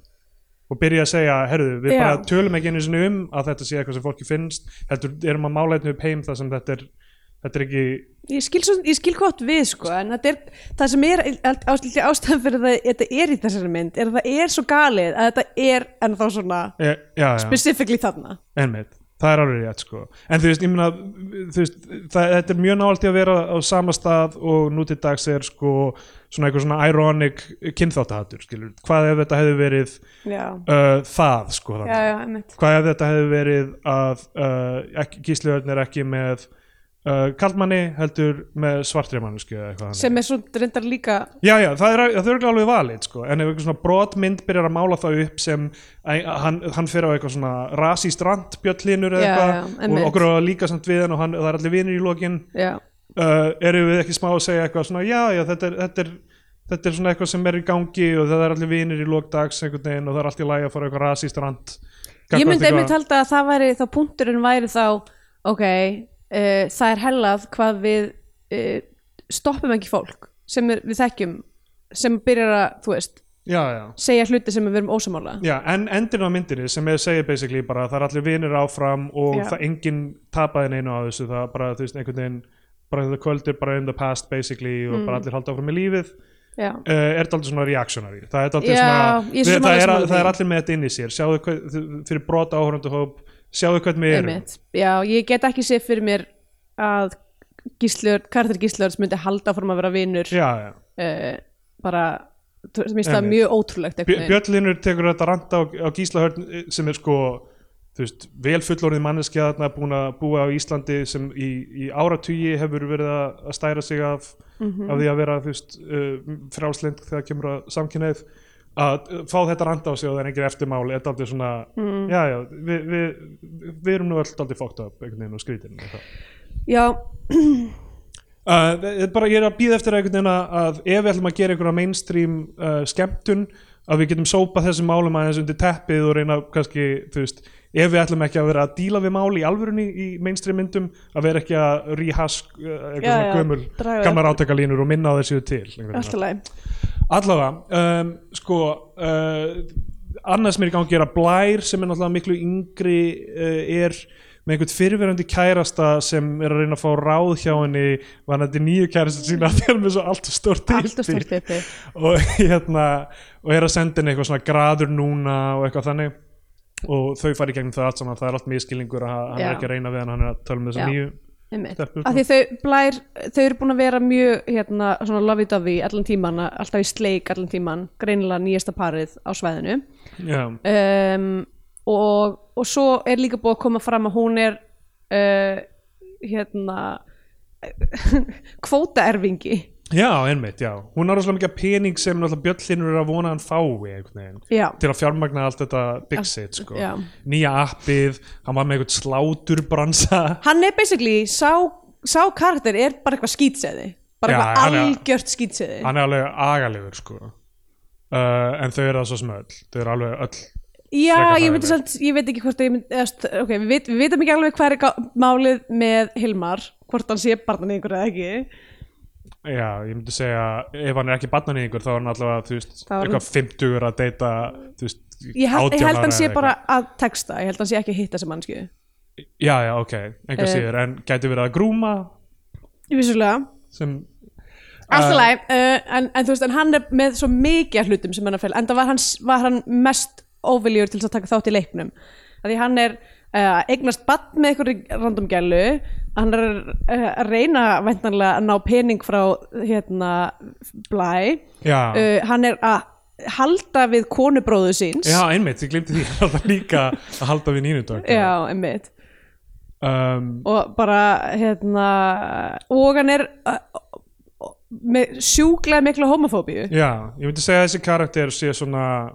S1: og byrja að segja, herðu, við
S2: Já.
S1: bara tölum ekki einu sinni um að þetta sé eitthvað sem fólki finnst heldur, erum að mála einnig upp heim þar sem þetta er þetta er ekki,
S2: ég skil, svo, ég skil hvort við sko, en þetta er, það sem er ástæðan ástæðan fyrir það, þetta er í þessari mynd er að það er svo galið að þetta er en þá svona,
S1: e, já, já
S2: specifically þarna
S1: Einmitt, það er alveg rétt sko en þú veist, ég meina þú veist, það, þetta er mjög nált í að vera á sama stað og nú til dags er sko svona eitthvað svona ironic kynþáttahattur skilur, hvað ef þetta hefði verið
S2: já,
S1: uh, það sko þannig
S2: já, já, einmitt
S1: hvað ef þetta hefði verið að uh, ekki- Gísli Örn er ekki með uh, kaldmanni heldur með svartri mannsku eða eitthvað þannig.
S2: sem er svo reyndar líka
S1: Já, já, það er, það er örugglega alveg valið sko. en ef eitthvað svona brotmynd byrjar að mála það upp sem að, hann, hann fyrir á eitthvað svona rasist rand bjöllinur
S2: Já,
S1: eða
S2: já,
S1: eitthvað
S2: einmitt.
S1: og okkur á að líka samt við hann og hann, það er allir vinir í lokin
S2: já,
S1: uh, eru við ekki smá að segja eitthvað svona já, já, þetta er, þetta er þetta er svona eitthvað sem er í gangi og það er allir vinir í lokdags einhvern veginn og það er allt í lagi að fara á eitthvað rasist rand
S2: ég
S1: gagnvart
S2: myndi
S1: eitthvað-
S2: einmitt halda að það væri þá punkturinn væri þá ok, uh, það er hellað hvað við uh, stoppum ekki fólk sem er, við þekkjum sem byrjar að, þú veist,
S1: já, já.
S2: segja hluti sem við erum ósamála
S1: Já, en endin á myndinni sem ég segir basically bara að það er allir vinir áfram og
S2: Já.
S1: það enginn tapaði neina á þessu það bara, þú veist, einhvern veginn bara þetta kvöld er bara in the past basically og
S2: Mm.
S1: bara allir halda áfram í lífið uh,
S2: já,
S1: er þetta aldrei svona reactionary það er, dálítið
S2: Já, ég er svo
S1: svona, það,
S2: sammála
S1: er,
S2: sammála
S1: það er
S2: því.
S1: allir með þetta inn í sér sjáðu hvað, þið- fyrir brot áhörundu hóp sjáðu hvernig við erum
S2: einmitt já, ég get ekki séð fyrir mér að gíslur, karakter gíslur myndi halda fórum að vera vinur
S1: já, já.
S2: uh, bara, þú veist, mér finnst það
S1: Einmitt.
S2: mjög ótrúlegt
S1: Bjö-
S2: einhvern veginn.
S1: Bjöllinur tekur þetta randa á, á Gíslahörn sem er sko þú veist, vel fullorðið manneskja þarna búin að búa á Íslandi sem í, í áratugi hefur verið að að stæra sig af,
S2: Mhm.
S1: af því að vera þú veist, uh, frjálslind þegar kemur að samkynneið að uh, fá þetta randa á sig og það er engin eftirmál er daldið svona,
S2: Mhm.
S1: já já við, við, við erum nú öll daldið fókt upp einhvern veginn og skrítin og það
S2: já,
S1: Uh, þetta er bara, ég er að býða eftir einhvern veginn að að ef við ætlum að gera einhverja mainstream uh, skemmtun að við getum sópað þessum málum aðeins undir teppið og reyna kannski, þú veist, ef við ætlum ekki að vera að díla við mál í alvörunni í mainstream myndum að vera ekki að rehask uh, eitthvað
S2: Já, já,
S1: svona gömul,
S2: draga
S1: gamlar átekalínur og minna á þessu til einhvern veginn.
S2: allt í lagi
S1: Allavega, um, sko uh, annað sem er í gangi er að Blær sem er náttúrulega miklu yngri uh, er með einhvern fyrirverandi kærasta sem er að reyna að fá ráð hjá henni var þetta nýju kærasta sína að þegar með svo allt of stórt
S2: allt og
S1: yppi.
S2: stort uppi
S1: og, hérna, og er að senda henni eitthvað svona graður núna og eitthvað þannig og þau fari í gegnum það allt saman það er allt miskilningur að hann
S2: Já.
S1: er ekki að reyna við hann hann er að tala um
S2: Já.
S1: þessu nýju
S2: Einmitt.
S1: Stelpurnar.
S2: Af því þau, blær, þau eru búin að vera mjög hérna, svona lovey-dovey allan tíman alltaf í sleik allan tíman greinilega nýjasta parið á svæðinu
S1: Já,
S2: um, og, og svo er líka búið að koma fram að hún er uh, hérna kvótaerfingi
S1: já einmitt, já hún har rosalega mikið af pening sem náttúrulega bjöllinur er að vona að hann fái einhvern veginn
S2: já,
S1: til að fjármagna allt þetta Big Sit sko.
S2: já.
S1: nýja appið, hann var með eitthvað sláturbransa
S2: hann er basically sá, sá karakter er bara eitthvað skýtseði bara
S1: Já,
S2: eitthvað
S1: hann er-
S2: algjört skýtseði
S1: hann er alveg agalegur sko. uh, en þau eru það svo sem öll þau eru alveg öll
S2: Já,
S1: frekar
S2: ég
S1: hræðileg.
S2: myndi samt, ég veit ekki hvort að ég myndi, eða, st- ok, við, vit- við veitum ekki alveg hvað er gá- málið með Hilmar, hvort hann sé barnan einhver eða ekki.
S1: já, ég myndi segja, ef hann er ekki barnaníðingur þá er hann allavega, þú veist,
S2: Þá er hann-
S1: eitthvað 50 að deyta, þú veist,
S2: Ég held, ég
S1: 18
S2: held
S1: ára
S2: hann sé
S1: eða
S2: bara að texta, ég held hann sé ekki að hitta sem mannsku.
S1: eitthvað. já, já, ok, einhver
S2: Eh.
S1: síður en gæti verið að grúma
S2: Vissulega.
S1: sem,
S2: Alltaf
S1: Eh.
S2: læg, uh, en, en þú veist, en hann er með svo mikið af hlutum sem hann er fel, enda var hann, var hann mest óviljur til þess að taka þátt í leiknum. Af Því hann er uh, eignast badd með einhverju random gælu, hann er uh, að reyna væntanlega að ná pening frá hérna blæ,
S1: já
S2: uh, hann er að halda við konubróðu síns
S1: já, einmitt, ég glimti því að það líka að halda við nýnudag
S2: Já, einmitt
S1: um,
S2: og bara hérna og hann er uh, með sjúklega mikla homofóbíu
S1: Já, ég myndi segja að þessi karakter sé svona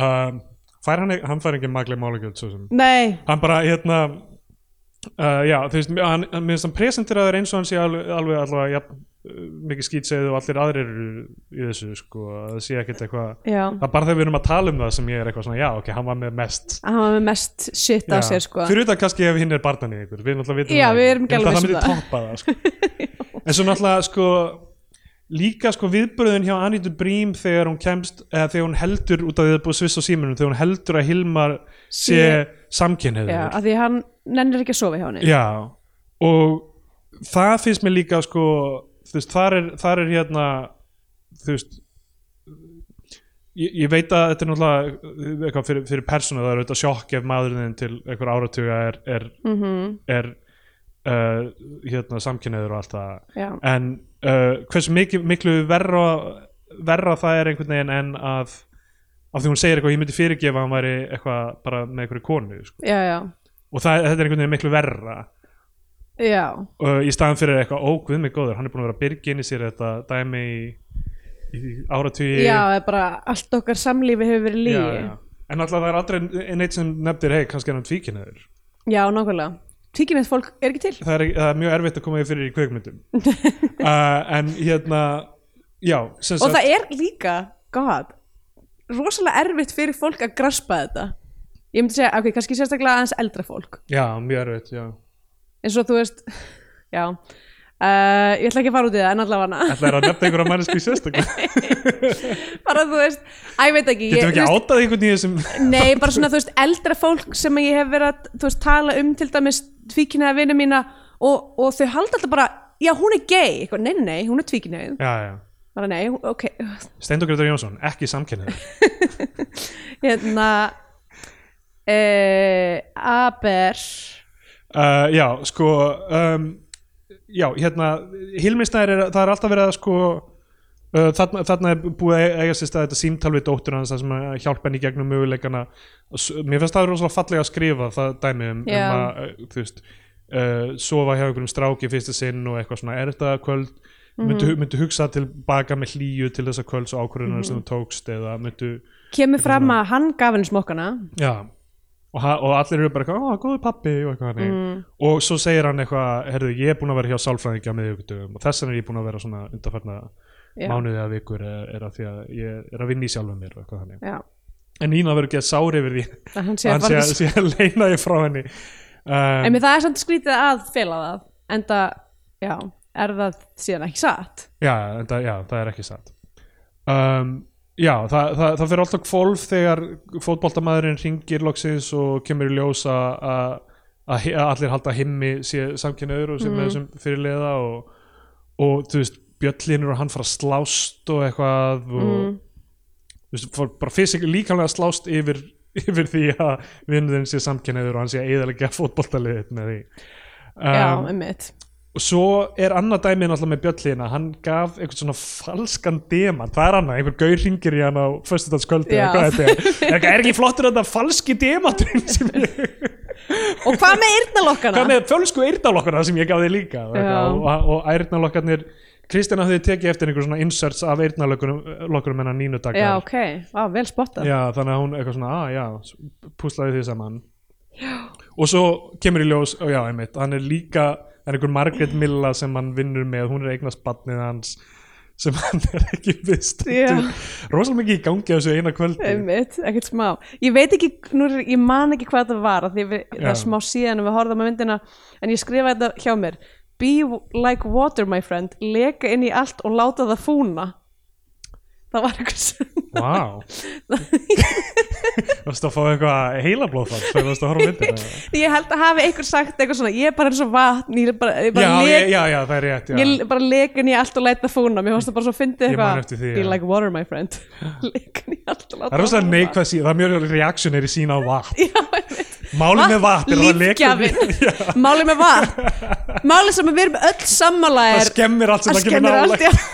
S1: um, fær hann, hann fær ekki maglega málugjöld svo sem
S2: Nei,
S1: hann bara hérna uh, já, þú veist, hann, hann minnst hann presenteraður eins og hann sé alveg, alveg allavega ja, mikið skýtsegðu og allir aðrir eru í þessu sko, að það sé ekkert eitthvað
S2: já
S1: það er bara þegar við erum að tala um það sem ég er eitthvað svona já, ok, hann var með mest
S2: hann var með mest shit á
S1: Já.
S2: sér sko
S1: fyrir utan kannski ef hinn er barnan í ykkur við náttúrulega vitum
S2: Já,
S1: það
S2: við
S1: ekki.
S2: erum ekki
S1: Ég held
S2: alveg
S1: að það
S2: viss um
S1: myndi toppa það sko. en svo náttúrulega sko líka sko viðbröðun hjá Anitur Brím þegar hún kemst eða þegar hún heldur út af því að það er búið sviss á síminum þegar hún heldur að Hilmar sé
S2: Sé- Já,
S1: samkynhneigður
S2: af því hann nennir ekki að sofa hjá henni
S1: Já, og það finnst mér líka sko, þú veist, þar er, þar er hérna, þú veist, ég, ég veit að þetta er náttúrulega eitthvað fyrir, fyrir persónu, það er auðvitað sjokk ef maðurinn þinn til einhver áratuga er, er,
S2: mm
S1: er uh, hérna, samkynniður og allt það,
S2: já.
S1: en uh, hversu miklu, miklu verra, verra það er einhvern veginn en að, af því hún segir eitthvað, ég myndi fyrirgefa að hann væri eitthvað bara með einhverju konu, sko.
S2: já, já,
S1: og það, þetta er einhvern veginn miklu verra
S2: já
S1: uh, í staðan fyrir eitthvað ógvið mig góður hann er búin að vera að byrgi inn í sér þetta dæmi í, í áratugi
S2: Já, það er bara allt okkar samlífi hefur verið lígi
S1: já,
S2: Já,
S1: já. en alltaf það er aldrei neitt sem nefndir hei, kannski er hann tvíkinniður
S2: nákvæmlega Tvíkinnið fólk er ekki til
S1: það er, það er mjög erfitt að koma því fyrir í kveikmyndum uh, en hérna já, sem
S2: Og
S1: sagt
S2: það er líka, god rosalega erfitt fyrir fólk að graspa þetta Ég myndi segja, ok, kannski sérstaklega aðeins eldra fólk
S1: já, mjög erfitt, já
S2: eins og þú veist, já Uh, ég ætla ekki að fara út í það en allavega hana
S1: Það er að nefna einhverja mannesku í sérstaklega
S2: bara þú veist, að ég veit ekki ég,
S1: Getum við
S2: þú
S1: ekki
S2: veist-
S1: átað einhvern í þessum
S2: Nei, bara svona, þú veist, eldra fólk sem ég hef verið að, þú veist, tala um til dæmis tvíkinaða vinnu mína og, og þau halda alltaf bara, já, hún er gay eitthvað, nei, nei, nei, hún er tvíkinaðið
S1: Já, já
S2: bara nei, hún- ok,
S1: Steindur Gretar Jónsson, ekki samkynniður
S2: hérna e, Aber
S1: Uh, já, sko um, Já, hérna Hilmisnær, er, það er alltaf verið að sko uh, þarna, þarna er búið að eiga sér stað þetta símtal við dóttur hans þar sem að hjálpa henni í gegnum möguleikana Og s- Mér finnst það rosalega fallega að skrifa það dæmi um,
S2: Já.
S1: um að, uh, þú veist uh, sofa hjá einhverjum stráki fyrsta sinn og eitthvað svona er þetta kvöld myndu, myndu hugsa tilbaka með hlýju til þessa kvölds og ákvörunar sem þú tókst eða myndu,
S2: kemur fram að hann gaf henni smokkana
S1: já og, ha- og allir eru bara eitthvað, ó, góður pappi og eitthvað hannig
S2: Mm.
S1: og svo segir hann eitthvað herðu, ég er búin að vera hjá sálfræðingja með ykkurtum og þess vegna er ég búin að vera svona undarfarna
S2: Já.
S1: mánuði eða vikur er, er að því að ég er að vinna í sjálfum mér og eitthvað þannig.
S2: Já,
S1: en Nína verður ekki að sári yfir því
S2: að hann sé
S1: að
S2: að
S1: hann
S2: fara
S1: sé,
S2: þess
S1: sé að leina því frá henni
S2: En
S1: um,
S2: mér það er samt skrítið að fela það enda, já, er það síðan ekki satt
S1: já, en það, já, það er ekki satt um, já, það, það, það fyrir alltaf kvolf þegar fótboltamaðurinn ringir loksins og kemur í ljós að að- að hi- að allir halda himmi samkynniður og sem mm. þessum fyrirliða og, og þú veist bjöllinur og hann fara að slást og eitthvað og þú veist, fór bara fysik, líkamlega slást yfir, yfir því að vinnurinn sé samkynniður og hann sé að eðalega fótboltaliðið með því
S2: Já,
S1: um,
S2: um mitt
S1: og svo er annað dæmið náttúrulega með bjöllina hann gaf einhvern svona falskan demant, það er annað, einhver gaur ringir í hann á föstudagskvöldi
S2: Já.
S1: eða hvað þetta er er, er ekki flottur þetta falski demanturinn sem ég,
S2: Og hvað með yrnalokkana?
S1: hvað með fölsku eyrnalokkana sem ég gaf þig líka og,
S2: Já.
S1: og, og eyrnalokkarnir Kristjana hafði tekið eftir einhver svona inserts af eyrnalokkurum hennar nínu dagar
S2: Já, ok, Vá, vel spottað
S1: Já, þannig að hún eitthvað svona, að já, s- púslaði því saman. Já. Og svo kemur í ljós, og já, einmitt, hann er líka, það er einhver Margaret Milla sem hann vinnur með, hún er eignast barnið hans sem hann er ekki viðstöndur.
S2: Já.
S1: Rósalega mikið í gangi á þessu eina kvöldi.
S2: Einmitt, ekkert smá Ég veit ekki, nú, er- ég man ekki hvað það var af því við, það er
S1: Já.
S2: smá síðan og við horfðum að myndina en ég skrifaði þetta hjá mér Be like water my friend leka inn í allt og láta það fúna Það var eitthvað sem
S1: Vá. Wow. Varstu að fá eitthvað heilablóðfall þegar varstu að horfa á myndina?
S2: Ég held að hafi einhver sagt eitthvað svona ég er bara eins og vatn ég er bara, ég bara,
S1: Já,
S2: lek,
S1: ég- já, já, það er rétt, já.
S2: ég bara leka inn í allt og láta það fúna Mér fannst það bara svo fyndið
S1: Ég man
S2: eitthvað
S1: eftir því,
S2: Be
S1: já.
S2: like water my friend leka inn í allt og láta
S1: Það er rosalega neikvæð síðan, það er mjög reaksjónir í sína á vatn. Já, Málið með vatn er að það lekur
S2: Lífgjafinn, málið með vatn Málið sem við erum öll sammála
S1: það
S2: er
S1: skemmir allt sem
S2: Það
S1: það kemur
S2: skemmir allt
S1: nálægt.
S2: já.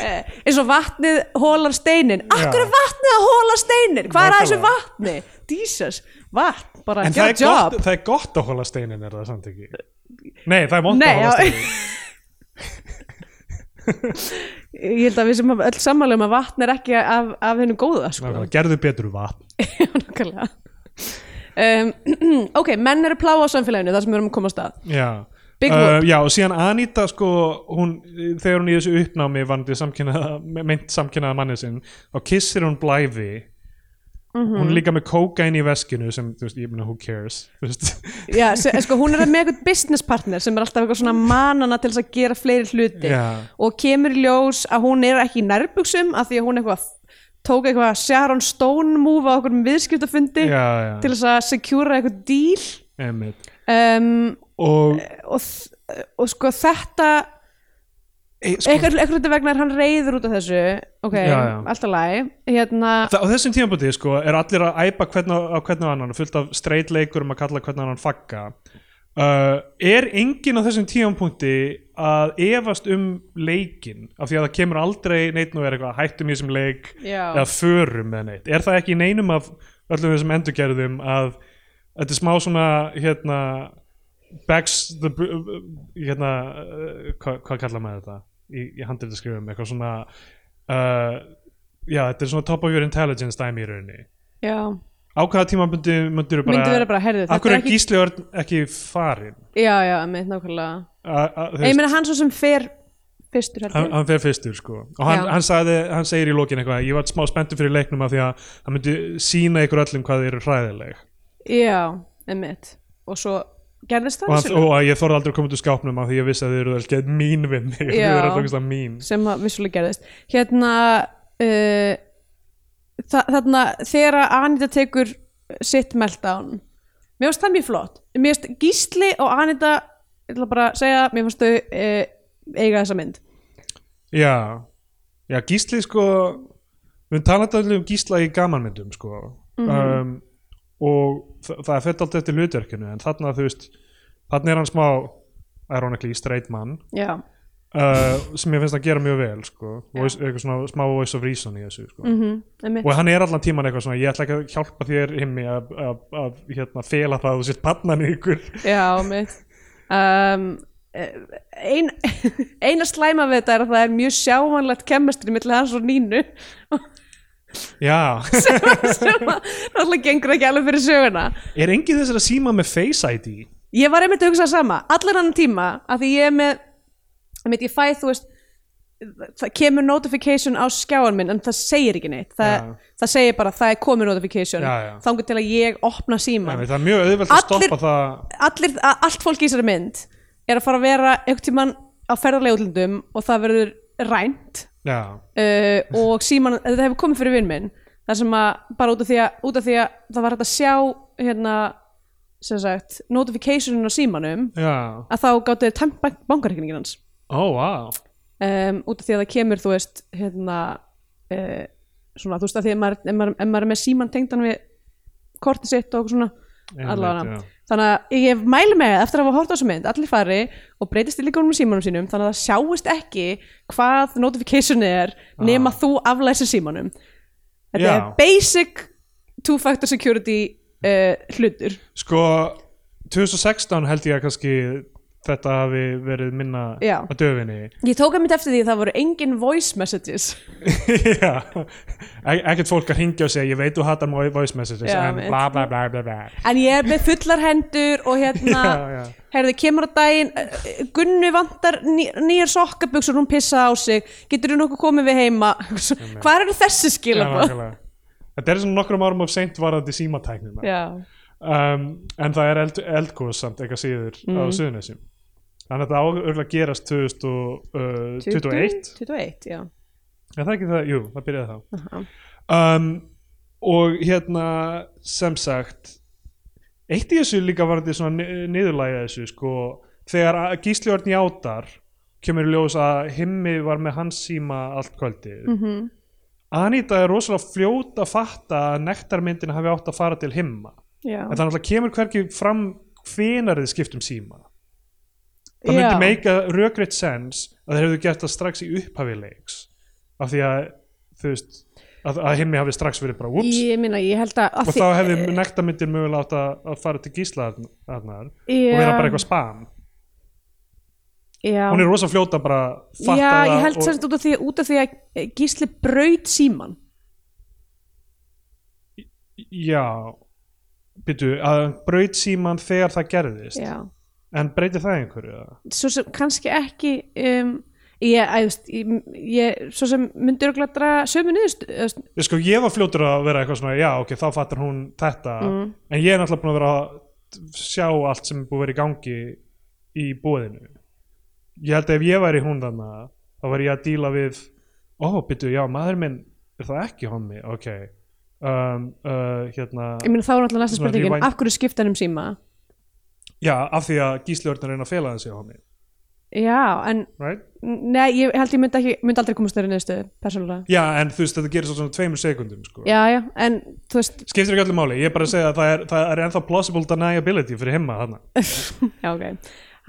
S2: Eh, eins og vatnið hólar steinin Akkur
S1: Já.
S2: er vatnið að hóla steinin? Hvað er að þessu
S1: Nákvæmlega.
S2: vatni? Jesus, vatn, bara
S1: En það
S2: your
S1: er,
S2: job
S1: gott, það er gott að hóla steinin er það samt ekki Nei, það er vond
S2: Nei,
S1: að
S2: já.
S1: horfast á þig.
S2: ég held að við sem öll sammála um að vatn er ekki af, af hennu góða sko.
S1: Nákvæmlega, Gerðu betur vatn
S2: Já, nákvæmlega um, ok, menn eru plá á samfélaginu það sem við erum að koma á stað
S1: Já
S2: Big
S1: Uh,
S2: whoop.
S1: já, og síðan Anita sko, hún, þegar hún í þessu uppnámi vandi samkynnaða, meint samkynnaða manni sinn þá kissir hún blæfi
S2: Mhm.
S1: hún er líka með kókain í veskinu sem, þú veist, ég meina, who cares þú veist,
S2: Já, se, sko, hún er með eitthvað business partner sem er alltaf eitthvað svona manana til þess að gera fleiri hluti
S1: Já.
S2: og kemur í ljós að hún er ekki í nærbuxum af því að hún eitthvað tók eitthvað Sharon Stone move á okkur viðskiptafundi
S1: já, já,
S2: til þess að secura eitthvað deal
S1: emitt
S2: um,
S1: og
S2: og, þ- og sko þetta
S1: e, sko,
S2: eitthvað eitthvað hluti vegna er hann reyður út af þessu ok,
S1: Já, já.
S2: allt að læg hérna,
S1: það, á þessum tímabúti sko, er allir að æpa hvern á, á hvern á annan og fullt af streitleikur um að kalla hvern annan fagga uh, er enginn á þessum tímabúti að efast um leikin af því að það kemur aldrei neitt nú er eitthvað hættum í þessum leik
S2: Já.
S1: eða förum eða neitt er það ekki í neinum af öllum þessum endurgerðum að þetta er smá svona hérna backs the br- hérna, uh, hvað, hvað kallar maður þetta í, í handritaskrifum, eitthvað svona uh, já, þetta er svona top of your intelligence dæmi í rauninni
S2: já
S1: á hvaða tíma myndi, myndir bara
S2: Myndu vera bara, heyrðu, þetta
S1: af hverju
S2: er
S1: er
S2: ekki-
S1: Gísli Örn ekki farin
S2: já, já, með nákvæmlega
S1: A- a- þú
S2: Ég
S1: veist,
S2: meina hann svo sem fer fyrstur
S1: hann,
S2: heldur.
S1: hann fer fyrstur sko og hann,
S2: Já.
S1: hann, sagði, hann segir í lokin eitthvað ég var smá spenntur fyrir leiknum af því að hann myndi sína ykkur öllum hvað þeir eru hræðileg
S2: Já, emmitt. Og svo gerðist
S1: og,
S2: það
S1: hann,
S2: vissulega.
S1: og að ég þorði aldrei að koma út úr skápnum af því ég vissi að þeir eru alltaf mín við mig þeir
S2: Já.
S1: eru alltaf mín
S2: Sem að vissulega gerðist. Hérna, uh, þa þarna, þegar að Anita tekur sitt meltdown, mér finnst það mjög flott. Mér finnst Gísli og Anita, ég ætla bara að segja, mér finnst þau uh, eiga þessa mynd.
S1: Já, já Gísli sko við höfum talað allir um Gísla í gamanmyndum sko um, og þa það er fett allt eftir hlutverkinu en þarna þú veist þarna er hann smá ironically straight man
S2: Já,
S1: uh, sem ég finnst að gera mjög vel sko voice, eitthvað svona smá voice of reason í þessu sko
S2: mm emmitt.
S1: og hann er allan tíman eitthvað svona ég ætla ekki að hjálpa þér himmi að, að, að hérna, fela það að þú sétt pannan ykkur
S2: Já, mitt um, ein, Eina slæma við þetta er að það er mjög sjávanlegt kemmestri milli hans og Nínu
S1: Já,
S2: sem að náttúrulega gengur ekki alveg fyrir söguna
S1: er engin þessara síma með Face ID?
S2: Ég var einmitt að hugsa það sama allan annan tíma að því ég er með einmitt ég fæ þú veist það kemur notification á skjáan minn en það segir ekki neitt það,
S1: Já.
S2: það segir bara það er komið notification
S1: Já, já.
S2: þangur til að ég opna síma
S1: Það er mjög auðvelt að
S2: Allir-
S1: stoppa það
S2: allir, a- allt fólk í þessari mynd er að fara að vera einhvern tímann á ferðarlega útlundum og það verður rænt
S1: Já,
S2: uh, og síman, þetta hefur komið fyrir vinn minn þar sem að bara út af því að, út af því að það var hægt að sjá hérna, sem sagt, notificationin á símanum
S1: já
S2: að þá gáttu þeir tæmt bankarreikningin hans
S1: Ó, vá
S2: um, út af því að það kemur þú veist hérna uh, svona þú veist að því að maður, ef maður, ef maður er með síman tengdan við kortið sitt og svona
S1: Einmitt,
S2: allavega
S1: já.
S2: þannig að ég mæli með eftir að hafa hort á þessu mynd allir fari og breytist í líkunum símanum sínum þannig að það sjáist ekki hvað notification er nema þú aflæsir símanum
S1: Ah.
S2: þetta
S1: Já.
S2: er basic two factor security uh, hlutur
S1: Sko, 2016 held ég að kannski þetta hafi verið minna
S2: Já.
S1: að döfinni
S2: ég tók að mynd eftir því að það voru engin voice messages
S1: Já, E- ekkert fólk að hringja og segja ég veit þú hatar mjög voice messages
S2: Já,
S1: en
S2: mitt.
S1: bla bla bla bla bla
S2: en ég er með fullar hendur og hérna,
S1: Já, já.
S2: heyrðu, kemur á daginn eh, eh, Gunnu vantar ný, nýjar sokkabuxur, hún pissa á sig getur þú nokkuð komið við heima hvað eru
S1: Já,
S2: þessi skilabóð?
S1: nákvæmlega. Þetta er svona nokkrum árum of seint varandi símatæknina
S2: Já,
S1: um, en það er eld, eldkos samt eitthvað síður á Suðunesjum Þannig að þetta áurlega gerast uh, 2021
S2: 21, já
S1: Er það ekki það? Jú, það byrjaði þá
S2: Aha.
S1: um, Og hérna sem sagt eitt í þessu líka var þetta svona niðurlægja þessu sko þegar að Gísli Örn játar kemur í ljós að himmi var með hans síma allt kvöldið
S2: Mhm.
S1: -hmm. Anita er rosalega fljót að fatta að nektarmyndin hafi átt að fara til himma
S2: Já,
S1: en það náttúrulega kemur hvergi fram hvenarið skiptum síma það myndi meika rökrétt sens að þeir hefðu gert það strax í upphafi leiks af því að þú veist að, að himmi hafi strax verið bara úps
S2: Ég minna, ég held að, að
S1: og þá hefði nektarmyndir mögulega átt að, að fara til gíslaðarnar og
S2: Já.
S1: vera bara eitthvað spam
S2: Já.
S1: hún er rosa fljóta bara að fatta
S2: Já,
S1: það
S2: ég held
S1: og-
S2: semst út af því, út af því að eh, Gísli braut síman
S1: já, býtu að hann braut síman þegar það gerðist
S2: Já,
S1: en breyti það einhverju eða?
S2: svo sem kannski ekki um, ég, að, þú veist, ég, ég, svo sem myndi örgulega draga sömu niðurst eða, þú veist,
S1: ég sko, ég var fljótur að vera eitthvað svona já, ok, þá fattar hún þetta en ég er náttúrulega búin að vera að sjá allt sem er búið að vera í gangi í búðinu ég held að ef ég væri hún þarna þá væri ég að díla við ó, býtu, já, maður minn er það ekki hommi, ok um, uh, hérna
S2: ég meina þá er alltaf næsta
S1: Svona
S2: spurningin
S1: rewind.
S2: af hverju skipta hann um síma
S1: já, af því að gísliörnir reyna að fela þessi hommi
S2: Já, en
S1: right?
S2: nei, ég held ég myndi, ekki, myndi aldrei komast þeirri niðurstöðu, persónulega
S1: já, en þú veist, þetta gerir svo svona tveimur sekundum sko.
S2: Já, já, en þú veist
S1: skiptir ekki öllu máli, ég er bara að segja að það er, það er ennþá plausible deniability fyrir himma þarna
S2: Já, ok,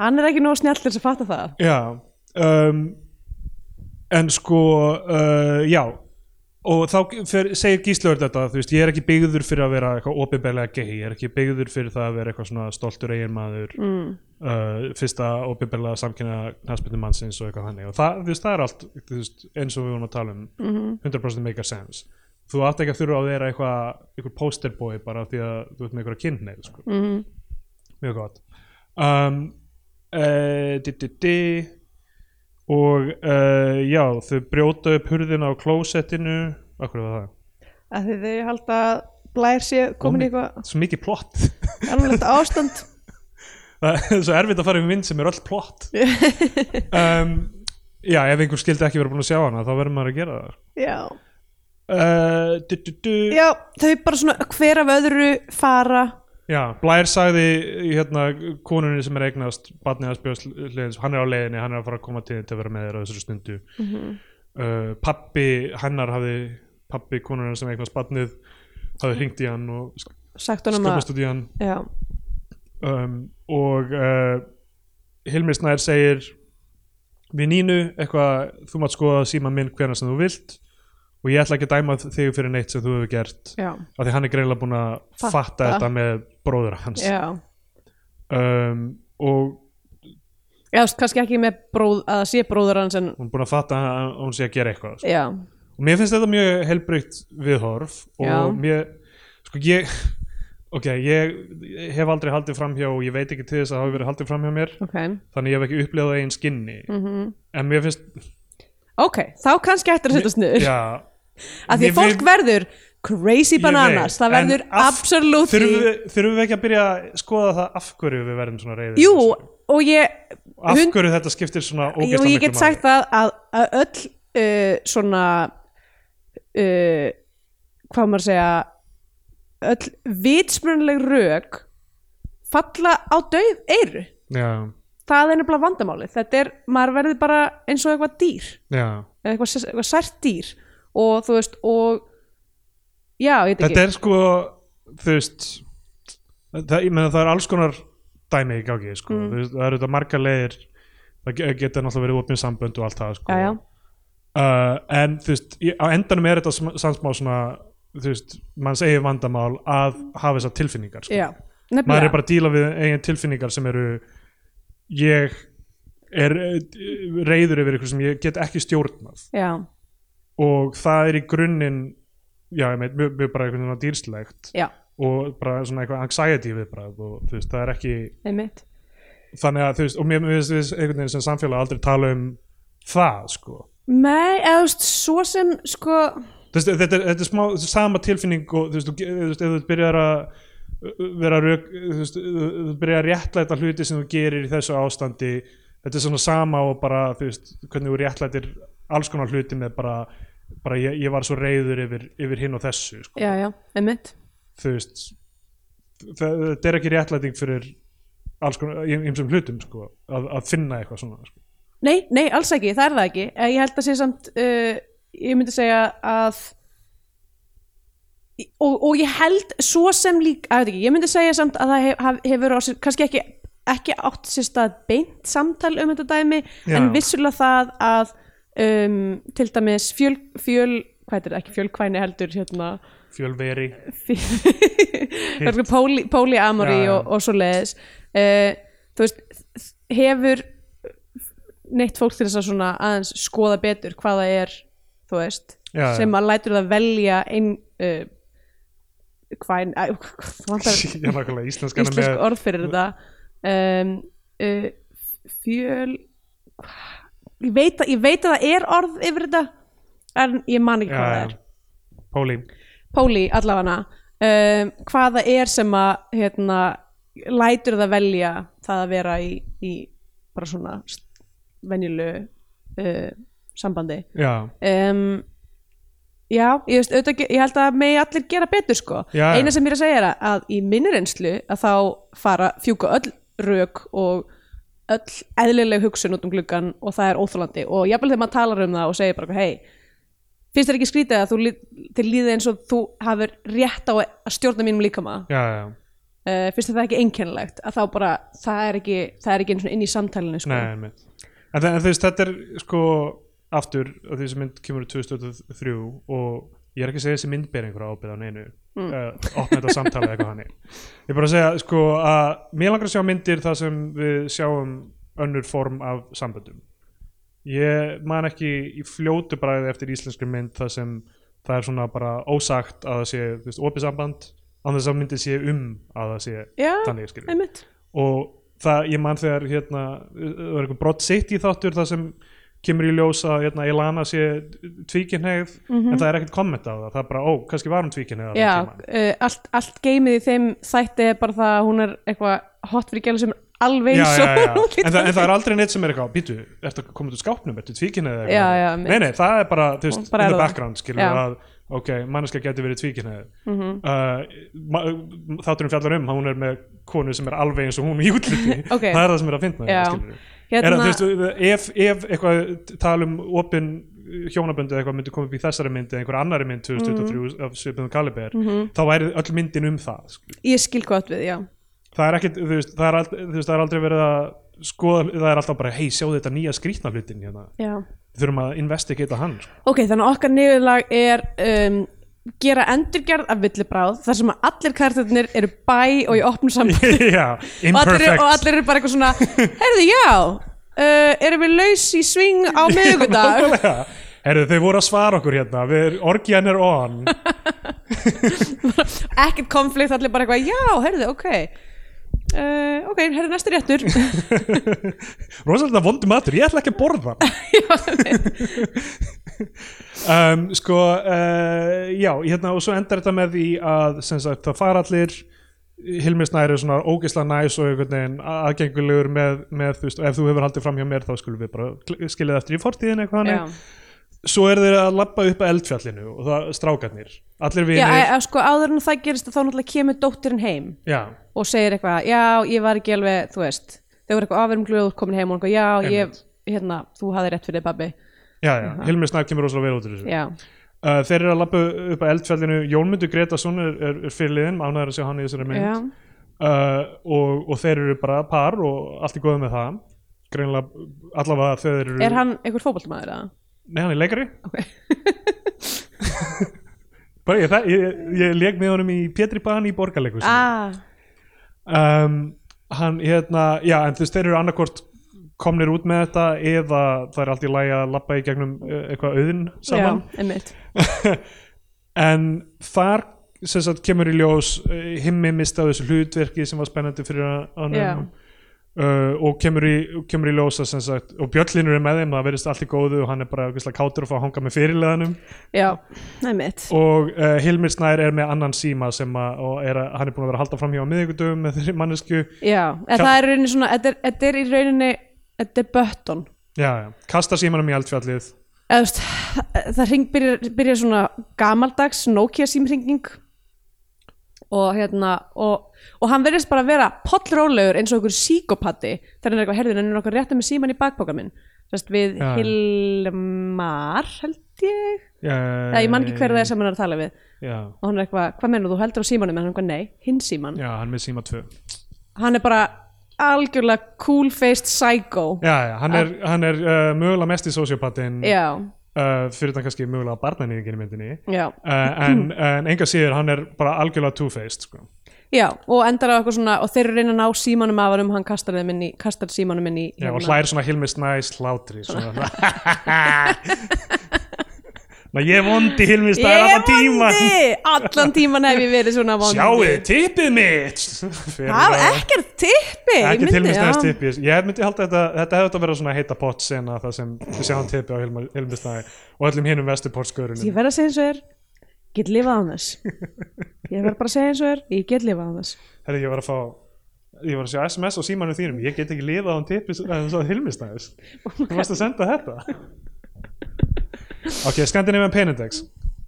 S2: hann er ekki nóg snjall til þess að fatta það
S1: Já um, En sko uh, Já Og þá fer, segir Gíslaur þetta þú veist, Ég er ekki byggður fyrir að vera eitthvað opinberlega gay Ég er ekki byggður fyrir það að vera eitthvað svona stoltur eiginmaður mm. uh, Fyrsta opinberlega samkynna knassbyrni mannsins og eitthvað þannig Og það, þú veist, það er allt þú veist, eins og við vorum að tala um -hmm. 100% make a sense Þú átt ekki að þurfa að vera eitthvað eitthvað posterboy bara af því að þú ert með eitthvað kynneið sko. mm -hmm. Mjög gott um, uh, di, di, di. og uh, já þau brjóta upp hurðina á klósettinu akkur var það
S2: að því þau halda að blær sé komin í eitthvað
S1: svo mikið plott
S2: alveg ástand
S1: það er svo erfitt að fara um mynd sem er öll plott um, já ef einhver skildi ekki vera búin að sjá hana þá verður maður að gera það
S2: Já,
S1: uh, du, du, du.
S2: já, þau bara svona hver af öðru fara
S1: já Blær sagði í hérna konunni sem er eignast barnið hans Björns Björnsliðins hann er á leiðinni, hann er að fara að koma til þín til að vera með þér á þessari stundu uh, pappi hennar hafði pappi konunni sem eignast barnið hafði hringt í hann og
S2: sagt honum að
S1: skömmast út í hann
S2: já,
S1: um, og uh, Hilmir Snær segir við Nínu eitthvað þú mátt skoða síma minn hvena sem þú vilt og ég ætla ekki að dæma þig fyrir neitt sem þú hefur gert
S2: já,
S1: af því hann er greinlega búin að fatta,
S2: Fatta.
S1: þetta með bróður hans
S2: já
S1: um, og
S2: já, þú veist, kannski ekki með bróð að það sé bróður hans en
S1: hún er búin að fatta að hún sé að gera eitthvað sko.
S2: já,
S1: og mér finnst þetta mjög helbrygt viðhorf og
S2: Já.
S1: mér sko ég ok, ég hef aldrei haldið framhjá og ég veit ekki til þess að það hafi verið haldið framhjá mér
S2: ok
S1: þannig ég hef ekki upplifað það einn skinni
S2: Mm.
S1: -hmm. en mér finnst
S2: ok, þá kannski ættir að setjast niður
S1: já,
S2: að því
S1: Mér
S2: að fólk
S1: finnst-
S2: verður crazy
S1: ég
S2: bananas,
S1: veit,
S2: það
S1: en
S2: verður
S1: af-
S2: absolutely
S1: þurfum við, þurfum við ekki að byrja að skoða það af hverju við verðum svona reyðir
S2: jú, og ég
S1: af
S2: hund-
S1: hverju þetta skiptir svona
S2: Jú,
S1: ógeðslega
S2: ég get
S1: miklu
S2: sagt það að, að öll uh, svona uh, hvað á maður að segja öll vitsmjörnleg rök falla á döð eyru
S1: máli. já,
S2: það er nefnilega vandamálið þetta er, maður verður bara eins og eitthvað dýr
S1: já.
S2: eða eitthvað, sér- eitthvað sært dýr og þú veist og já, ég veit
S1: þetta
S2: ekki
S1: er sko þú veist það, ég meina, það er alls konar dæmi í gangi sko. mm. veist, það eru þetta margar leiðir það ge- geta náttúrulega verið opin sambönd og allt það sko.
S2: já, já,
S1: uh, en þú veist, í- á endanum er þetta sm- samt smá svona þú veist, manns eigin vandamál að hafa þessar tilfinningar sko.
S2: já,
S1: maður
S2: nefnilega
S1: er bara að díla við eigin tilfinningar sem eru ég er eh, reiður yfir ykkur sem ég get ekki stjórnað
S2: já,
S1: og það er í grunninn já, ég meit, mjög, mjög bara einhvern veginn dýrslegt
S2: já,
S1: og bara svona eitthvað anxiety viðbrað og þú veist, það er ekki
S2: einmitt
S1: þannig að þú veist, og mér mér finnst við einhvern veginn sem samfélag aldrei tala um það, sko
S2: Nei, eða þú veist, svo sem sko,
S1: Þú veist, þetta, er- þetta er smá þetta er sama tilfinning og þú veist, þú ge- þú veist ef þú byrjar að vera rauk, þú veist, þú byrjar að réttlæta hluti sem þú gerir í þessu ástandi þetta er svona sama og bara þú veist, hvernig þú réttlætir alls konar hluti með bara, bara ég, ég var svo reyður yfir, yfir hinn og þessu sko.
S2: já, já, einmitt
S1: þú veist það- þetta er ekki réttlæting fyrir alls konar, einsum hlutum sko, að, að finna eitthvað svona sko.
S2: Nei, nei, alls ekki, það er það ekki Eh, Ég held að sé samt uh, ég myndi segja að og, og ég held svo sem líka, að veit ekki, ég myndi segja samt að það hef, haf- hefur á sér, kannski ekki ekki átt sér stað beint samtal um þetta dæmi,
S1: Já.
S2: en vissulega það að um, til dæmis fjöl, fjöl hvað heitir það, ekki fjölkvæni heldur hérna
S1: fjölveri
S2: Fyrir- Póli, Póli Amori
S1: Já, já.
S2: Eh, og, og svo leiðis uh, þú veist, hefur neitt fólk til þess að svona aðeins skoða betur hvað það er, þú veist
S1: Já,
S2: sem
S1: já.
S2: að lætur það velja ein uh, hvaðin æ, það vantar
S1: Ég er nákvæmlega íslenskana
S2: íslensk
S1: með
S2: orð fyrir þetta um, uh, fjöl hva- ég veit, að, ég veit að það er orð yfir þetta en ég man ekki
S1: Já,
S2: hvað það
S1: já.
S2: er
S1: Póli
S2: Póli allafana um, hvað það er sem að hérna, lætur það velja það að vera í, í bara svona st- venjulu uh, sambandi
S1: Já,
S2: um, já, ég, veist, auðvitað, ge- ég held að megi allir gera betur sko
S1: Já, já.
S2: eina sem ég er að segja er að, að í minni reynslu að þá fara fjúka öll rök og öll eðlileg hugsun út um gluggan og það er óþólandi og jafnvel þegar maður talar um það og segir bara hei, finnst þér ekki skrítið að þú lí- þér líði eins og þú hafur rétt á að stjórna mínum líkama
S1: já, já
S2: uh, finnst þér það ekki einkennilegt að þá bara, það er ekki, það er ekki einu sinni inn í samtalinu sko.
S1: Nei, einmitt. en, en þú veist, þetta er sko aftur að því sem mynd kemur í 2003 og ég er ekki að segja þessi mynd ber einhverja ábyrð á neinu mm. opna þetta samtala eða eitthvað hann ég er bara að segja sko að mér langar að sjá myndir þar sem við sjáum önnur form af samböndum ég man ekki í fljótu bræði eftir íslenskri mynd þar sem það er svona bara ósagt að það sé þú veist, opið samband án þess að myndið sé um að það sé
S2: já,
S1: þannig skilur
S2: einmitt
S1: og það, ég man þegar hérna, það var einhver brott sitt í þáttur það sem kemur í ljós að hérna, Elana sé tvíkinhegð en það er ekkert komment á það, það er bara, ó, kannski var hún tvíkinhegð á þeim
S2: Mhm. Já,
S1: tíma.
S2: uh, allt, allt geymið í þeim þætti er bara það að hún er eitthvað hot fyrir gælu sem er alveg
S1: Já, já,
S2: eins og
S1: já.
S2: hún lítur
S1: En, það, en það
S2: alveg-
S1: er aldrei neitt sem er eitthvað býtu, ertu að koma út úr skápnum, ertu tvíkinhegð
S2: Já, já,
S1: nei, nei, það er bara, þú veist, in
S2: Bara er
S1: the
S2: það.
S1: background skilur
S2: Já.
S1: við að, ok, manneska getur verið tvíkinhegð
S2: Mhm.
S1: uh, þátturinn fjallar um, að hún er með konu sem er alveg eins og hún í útliti
S2: Ok.
S1: það er það sem er að finna
S2: Já.
S1: er að, þú
S2: hérna,
S1: veist, ef, ef eitthvað tala um opin hjónaböndu eða eitthvað myndi koma upp í þessari mynd eða einhver annari mynd 2023
S2: Mm.
S1: af svipum kaliber
S2: Mhm.
S1: þá væri öll myndin um það skilur.
S2: Ég skil gott við, já
S1: það er ekkit, þú veist, það er, aldrei, veist, það er aldrei verið að skoða, það er alltaf bara hei, sjáðu þetta nýja skrýtna hlutin hérna
S2: Já
S1: við þurfum að investigata hann sko.
S2: Ok, þannig að okkar niðurlag er um, gera endurgerð af villibráð þar sem að allir karakterarnir eru bæ og í opnum saman
S1: já,
S2: og allir,
S1: imperfect
S2: eru, og allir eru bara eitthvað svona Herðu, já, uh, erum við laus í sving á miðvikudag
S1: Nákvæmlega. Herðu, þau voru að svara okkur hérna við, orgian er on
S2: ekkert konflikt, allir bara eitthvað já, herðu, ok uh, ok, herðu, næsti réttur
S1: rosalega vondum matur, ég ætla ekki að borða hann. um, sko uh, já, hérna og svo endar þetta með því að sem sagt það fara allir Hilmi Snæri er svona ógeðslega næs og einhvern veginn aðgengulegur með, með þú veist, ef þú hefur haldið fram hjá mér þá skulum við bara kl- skilja það eftir í fortíðin eitthvað
S2: já,
S1: hann svo er þeir að labba upp að eldfjallinu og það strákarnir, allir vinir
S2: já að, sko, áður en það gerist að þá náttúrulega kemur dóttirinn heim
S1: já,
S2: og segir eitthvað, já, ég var ekki alveg þú veist, þau voru eitthvað afverjum glöður komin heim og eitthvað, já, ég,
S1: Einmitt.
S2: hérna þú hafði rétt fyrir babbi,
S1: já, já, Hilmi Snæri kemur rosalega vel út úr þessu
S2: já
S1: Uh, þeir eru að lappa upp að eldfjallinu Jónmundur Gretason er, er, er fyrirliðin ánæður að sjá hann í þessari mynd
S2: Já.
S1: uh, og, og þeir eru bara par og allt er góð með það greinlega allavega þeir eru
S2: er hann einhver fótboltmaður eða?
S1: nei hann er leikari
S2: Okay.
S1: bara ég, það- ég, ég leik með honum í Pétri Bahn í borgarleikus
S2: Ah,
S1: um, hann hérna já en þú veist þeir eru annarkort komnir út með þetta eða það er allt í lagi að lappa í gegnum uh, eitthvað auðin
S2: já,
S1: saman
S2: einmitt
S1: en þar sem sagt kemur í ljós eh, himmi mistaði þessu hlutverki sem var spennandi fyrir hann um,
S2: Já.
S1: uh, og kemur í, kemur í ljós að sem sagt, og Bjöllinur er með þeim, það verðist allt í góðu og hann er bara eitthvað kátur að fá að hanga með fyrirleðanum
S2: já, einmitt
S1: og uh, Hilmir Snær er með annan síma sem að, og er að, hann er búin að vera að halda fram hjá miðvikudöfum með þeirri mannesku
S2: já, en það er í rauninni svona, þetta er, þetta er í rauninni þetta er bötton
S1: já, já, kasta símanum í eldfjallið
S2: Eða, þú veist, það hring, byrjar, byrjar svona gamaldags Nokia símringing og hérna og, og hann verðist bara að vera pollrólegur eins og einhver síkopati þegar hann er eitthvað herðin en er okkur rétt með síman í bakpoka minn Sest við
S1: Já.
S2: Hilmar held ég
S1: uh,
S2: eða ég man ekki hver það er sem hann er að tala við
S1: já,
S2: og hann er eitthvað, hvað menur þú heldur á símanum en hann er eitthvað nei, hinn síman
S1: já, hann er með síma 2
S2: hann er bara algjörlega cool-faced psycho
S1: já, já, hann er, hann er uh, mögulega mest í sociopatinn uh,
S2: Ah. já,
S1: fyrir þann kannski mögulega barnanýðingin í myndinni
S2: já.
S1: uh, en, en enga síður hann er bara algjörlega two-faced sko.
S2: já, og endar á eitthvað svona og þeir eru að reyna að ná símanum af hann hann kastar, þeim inn í, kastar símanum inn í hérna.
S1: Já, og hlær svona Hilmi Snæs hlátri svona Ná, ég er vondi Hilmi
S2: ég
S1: Snæs
S2: er
S1: allan tíman
S2: vondi allan tíman hef ég verið svona vondi
S1: Sjáuði, tippið mitt Fyrir
S2: það
S1: að-
S2: var ekkert tippi ég
S1: ekki
S2: myndi,
S1: Hilmi Snæs
S2: já.
S1: tippi Ég myndi halda þetta, þetta hefði þetta verið svona heita pott sena það sem við sjáum tippi á Hilmi, Hilmi Snæs og öllum hinum vesturportskörunum
S2: ég verð að segja eins og er get lifað á þess ég verð bara að segja eins og er ég get lifað á þess
S1: Herri, ég var að fá ég var að sjá SMS á símanum þínum ég get ekki um lifað án tippi svo Hilmi Snæs
S2: Oh
S1: þú varst að senda þetta Ok, Scandinavian Penindex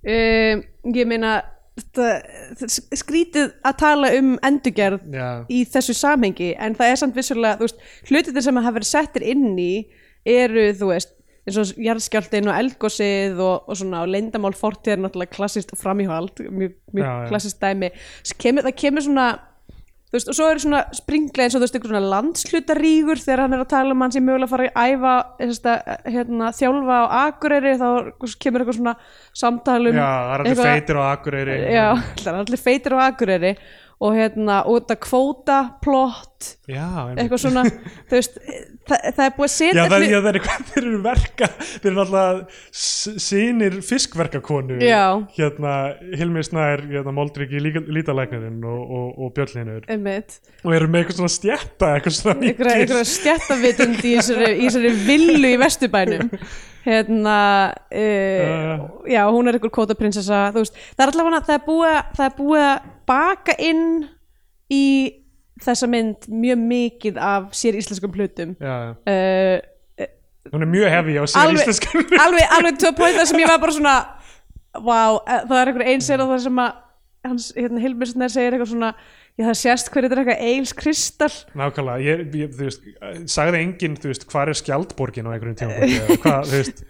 S2: um, ég meina þetta- þetta- skrítið að tala um endurgerð
S1: Já,
S2: í þessu samhengi en það er samt vissulega, þú veist, hlutinir sem hafa verið settir inn í eru, þú veist eins og jarðskjálftin og eldgósið og, og svona, og leyndamál fortíð er náttúrulega klassist framíhald, mjög, mjög
S1: Já, já.
S2: klassist dæmi S- kemur, það kemur svona þú veist, og svo eru svona springlega eins og þú veist, einhver svona landslutarígur þegar hann er að tala um hann sem mögulega að fara að æfa þesta, hérna, þjálfa á Akureyri þá kemur eitthvað svona um samtalum
S1: Já, það er allir feitir á Akureyri
S2: já, það er allir feitir á Akureyri og hérna, út að kvóta plott,
S1: Já, einmitt.
S2: eitthvað svona þú veist, það, það er búið að
S1: Já,
S2: setja
S1: það,
S2: hlu-
S1: já, það er eitthvað, þeir eru verka þeir eru alltaf sínir fiskverkakonu
S2: Já.
S1: hérna Hilmi Snær, hérna Moldriki lítalæknirinn og, og, og Björnlinur
S2: einmitt,
S1: og eru með eitthvað svona stjætta eitthvað svona
S2: einhverja,
S1: víkis.
S2: einhverja stjættavitund í þessari, í þessari villu í vesturbænum hérna uh, já, hún er einhver kótaprinsessa þú veist, það er allavega það er búið, að- það er búið að baka inn í þessa mynd mjög mikið af sér íslenskum hlutum
S1: Já,
S2: uh,
S1: hún er mjög hefi á sér
S2: alveg,
S1: íslenskan
S2: alveg, alveg tvö point þar sem ég var bara svona wow, það er einhver eins er það sem að hans, hérna, Hilmisnær segir eitthvað svona já, það sést hverju þetta er eitthvað eils kristall
S1: Nákvæmlega, ég, ég, þú veist, sagði enginn, þú veist, hvað er skjaldborgin á einhverjum tíma hvað, þú veist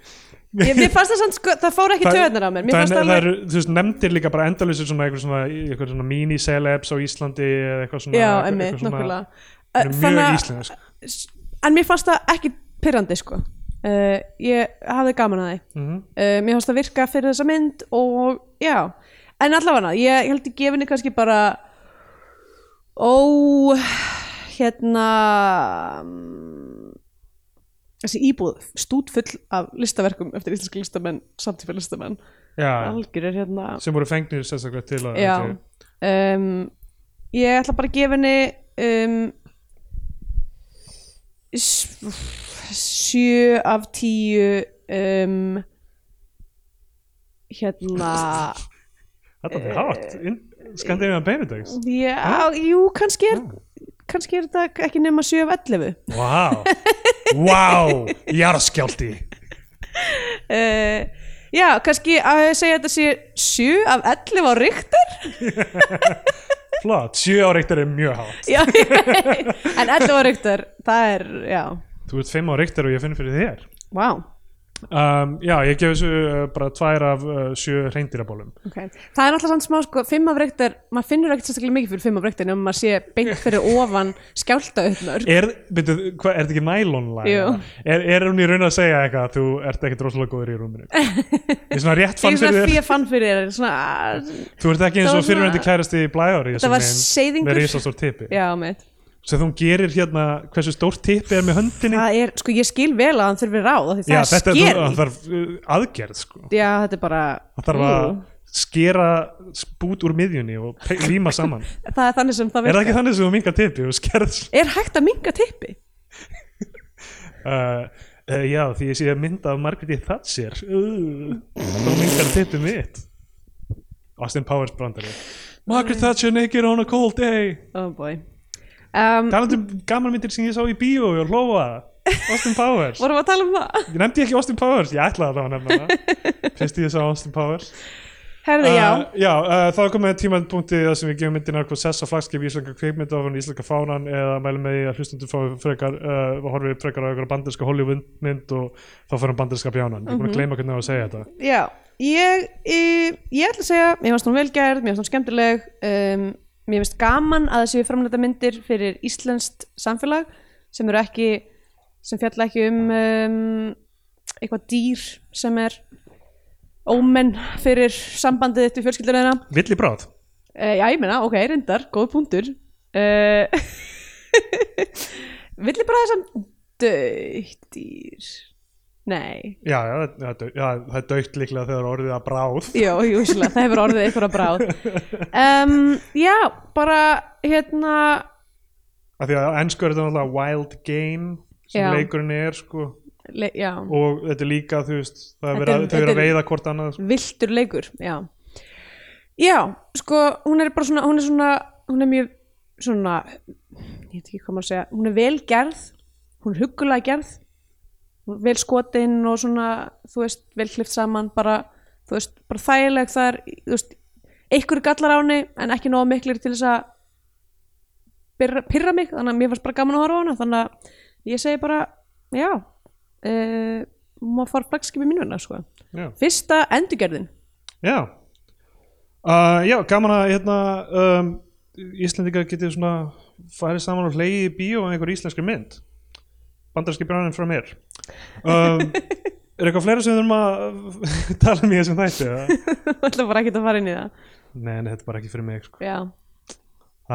S2: ég, mér fannst það samt, sko, það fór ekki
S1: Það-
S2: töðunar á mér mér
S1: það,
S2: fannst
S1: er, það
S2: alveg,
S1: eru, þú veist, nefndir líka bara endalusir svona eitthvað svona, eitthvað svona mini-celebs á Íslandi eða eitthvað svona
S2: já,
S1: eitthvað-
S2: emmitt,
S1: eitthvað svona-
S2: nokkulega
S1: hún er mjög
S2: þannig,
S1: íslensk
S2: að- en mér fannst það ekki pyrrandi, sko uh, ég hafði gaman að því
S1: Mhm.
S2: uh, mér fannst það virka fyrir þessa mynd og já, en allavega ég held ég gefinni kannski bara ó hérna mm, þessi íbúð stút full af listaverkum eftir íslenski listamenn, samtífa listamenn
S1: Já,
S2: algjör er hérna
S1: sem voru fengnir sérstaklega til að
S2: já,
S1: til-
S2: um, ég ætla bara að gefa henni um, s- sjö af tíu um, hérna
S1: Þetta er hátt, skandiðan beinudags
S2: Já, jú, kannski er, kannski er þetta ekki nema 7 af 11
S1: Vá, vá, jarðskjálti
S2: uh, Já, kannski að ég segja þetta sé 7 af 11 á ríktar
S1: Flott, sjö á reyktar er mjög hátt
S2: Já, en 11 á ríktar það er, já,
S1: Þú ert fimm á reyktar og ég finn fyrir þér
S2: vá
S1: um, Já, ég gef þessu uh, bara tvær af uh, sjö reyndýrabólum
S2: okay. Það er alltaf samt smá, sko, 5 af ríktar maður finnur ekkert sérstaklega mikið fyrir 5 af ríktar nema maður sé beint fyrir ofan skjálta uppnör
S1: Er, byrju, hva, er þetta ekki nælonlæg?
S2: Jú.
S1: Er, er hún í raun að segja eitthvað að þú ert ekkert rosalega góður í rúminu? Ég er svona rétt
S2: Ég
S1: fann
S2: svona
S1: fyrir
S2: því
S1: þér
S2: að fann fyrir þér svona, að-
S1: Þú ert ekki eins og
S2: Það var svona-
S1: fyrirvendi kærasti í blæðari
S2: Þetta var seiðingur.
S1: Með risastór tippi
S2: Já, mitt
S1: sem þú gerir hérna hversu stórt tippi er með höndinni
S2: Það er, sko, ég skil vel að hann þurfi ráð af því
S1: Já,
S2: það er
S1: þetta
S2: skeri
S1: er það þarf uh, aðgerð sko.
S2: Já, þetta er bara
S1: það þarf að
S2: Ú.
S1: skera spút úr miðjunni og pe- líma saman er
S2: það er þannig sem það
S1: það
S2: virkar
S1: ekki þannig sem þú mingar tippi og skerð uh,
S2: er hægt að minga tippi
S1: uh, já því ég sé að mynda af Margréti Thatcher uh, þá mingar tippi mitt Austin Powers brandari Margaret Thatcher naked on a cold day
S2: oh boy um,
S1: talandum gamanmyndir sem ég sá í bíó og hlóa Austin Powers
S2: vorum við að tala um það
S1: ég nefndi ekki Austin Powers, ég ætlaði allavega að nefna það fyrst ég þess að Austin Powers
S2: herði já,
S1: Uh, já uh, þá er komið tímapunkti þar sem við gefum myndina eitthvað sess á flagskip í íslenska kveikmynda ofan í íslenska fánan eða mælum með því að hlustundur fái frekar uh, og horfið frekar á einhverja banderska Hollywoodmynd og þá fyrir hann banderska bjánan ég er búin
S2: Mhm.
S1: að gleyma hvernig það var að segja þetta
S2: já ég, ég, ég ætla að segja, mér finnst hún velgerð mér finnst hún skemmtileg um, mér finnst gaman að þessi framleita myndir fyrir íslenskt samfélag sem eru ekki sem fjalla ekki um, um eitthvað dýr sem er ómenn fyrir sambandið þitt við fjölskyldurina
S1: Villi bráð
S2: Uh, já, ég meina, ok, reyndar, góð punktur. Uh, Villi bara þessam dögdýr? Nei.
S1: já, já, það er dau- já, það er daukt líklega þegar orðið að bráð
S2: Jó, júsla, það hefur orðið einhverja bráð. Um, já, bara, hérna,
S1: af því að á ensku er þetta náttúrulega wild game sem
S2: Já.
S1: leikurinn er sko
S2: le, já,
S1: og þetta er líka þú veist það er
S2: Þetta
S1: verið að,
S2: er-
S1: þau eru að
S2: þetta er-
S1: veiða hvort annað sko.
S2: viltur leikur, já. Já, sko, hún er bara svona, hún er svona, hún er mjög svona, ég veit ekki hvað maður að segja, hún er vel gerð, hún er huggulega gerð, hún er vel skotin og svona, þú veist, vel klift saman, bara, þú veist, bara þægileg það er, þú veist, einhverju gallar á henni en ekki nóg miklir til þess að pyrra, pyrra mig, þannig að mér fannst bara gaman að horfa á hana, þannig að ég segi bara, já, uh, maður fara flagskipi mínuna, sko.
S1: já,
S2: Fyrsta endurgerðin.
S1: já. Uh, já gaman að hérna, um, Íslendingar getið svona farið saman og hleyið í bíó af einhver íslenskri mynd bandarski bráninn frá mér um, er eitthvað fleira sem við þurfum að tala um í þessum þætti eða?
S2: Þú ætla bara ekkert að fara inn í það
S1: nei, nei, þetta er bara ekki fyrir mig sko.
S2: Já,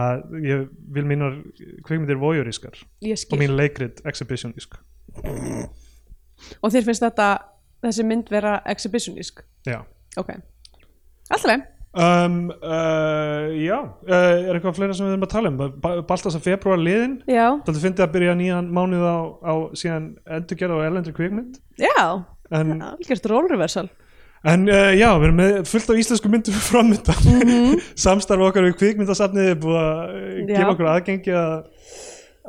S1: að, ég vil mínar kvikmyndir vojurískar
S2: ég
S1: og
S2: skil
S1: mín leikrit exhibitionísk
S2: Og þér finnst þetta, þessi mynd vera exhibitionísk
S1: já
S2: Ok Alltaf
S1: Um, uh, já, uh, er eitthvað fleira sem við erum að tala um Ba- Baltasar februar liðin
S2: Já,
S1: Þetta fyndi að byrja nýjan mánuð á, á síðan endurgerð á erlendri kvikmynd
S2: já,
S1: En,
S2: algjörst rólreversal
S1: en uh, já, við erum með fullt af íslensku myndum framöndan mm -hmm. Samstarf okkar við kvikmyndasafnið er búið að eh,
S2: Mhm. Já.
S1: gefa okkur aðgengi að,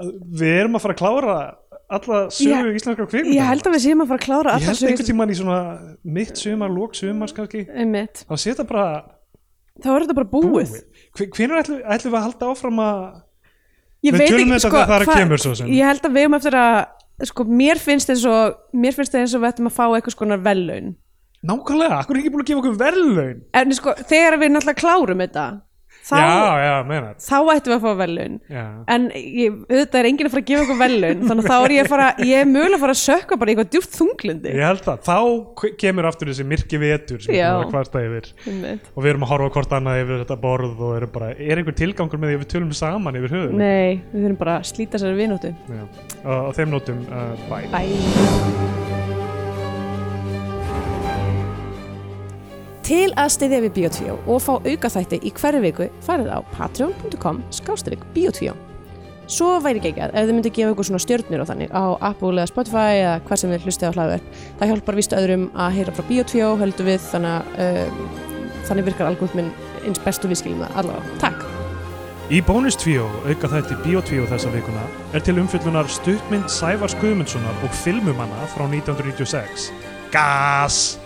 S1: að Við erum að fara að klára alla sögu íslenskra kvikmynda
S2: Ég held að við séum að fara að klára
S1: Ég held einhvern
S2: alltaf
S1: tímann í svona mitt sumar, lók sumars kannski
S2: Einmitt.
S1: Þá sé þetta bara
S2: Þá er þetta bara búið,
S1: Hvenær ætlum, ætlum við að halda áfram að
S2: Ég
S1: Við
S2: veit
S1: tölum
S2: ekki,
S1: þetta
S2: sko,
S1: þegar það er að
S2: hvað-
S1: kemur, svo sem.
S2: Ég held að við um eftir að sko, mér finnst eins og mér finnst eins og við ættum að fá eitthvað skonar vellaun
S1: Nákvæmlega, akkur er ekki búin að gefa okkur verðlaun
S2: En sko, þegar við náttúrulega klárum þetta þá,
S1: Já, já, meina þetta.
S2: þá ættum við að fá vellaun
S1: Já.
S2: en ég, auðvitað er enginn að fara að gefa okkur velun þannig að þá er ég að fara, ég er mögulega að fara að sökka bara í eitthvað djúpt þunglindi
S1: Ég held það, þá k- kemur aftur þessi myrki vetur sem við
S2: Já.
S1: erum að kvarta yfir
S2: Einmitt.
S1: og við erum að horfa á hvort annað yfir þetta borð og erum bara, er einhver tilgangur með því að við tölum saman yfir höfuð
S2: Nei, við þurfum bara að slíta sér vinóttu
S1: Á þeim nótum, uh, bye
S2: Bæ Til að styðja við Bíotvíó og fá aukaþætti í hverju viku farið á patreon.com skástrík Bíotvíó Svo væri geggjað ef þið myndu gefa ykkur svona stjörnir og þannig á Apple eða Spotify eða hvað sem þið hlustið á hlaðverk Það hjálpar víst öðrum að heyra frá Bíotvíó höldum við þannig að uh, þannig virkar algoritminn eins best og við skiljum það allavega Takk
S1: Í bónustvíó, auka þætti Bíotvíó þessa vikuna, er til umfyllunar stuttmynd Sævars Guðmundssonar og filmumanna frá 1996. Gas!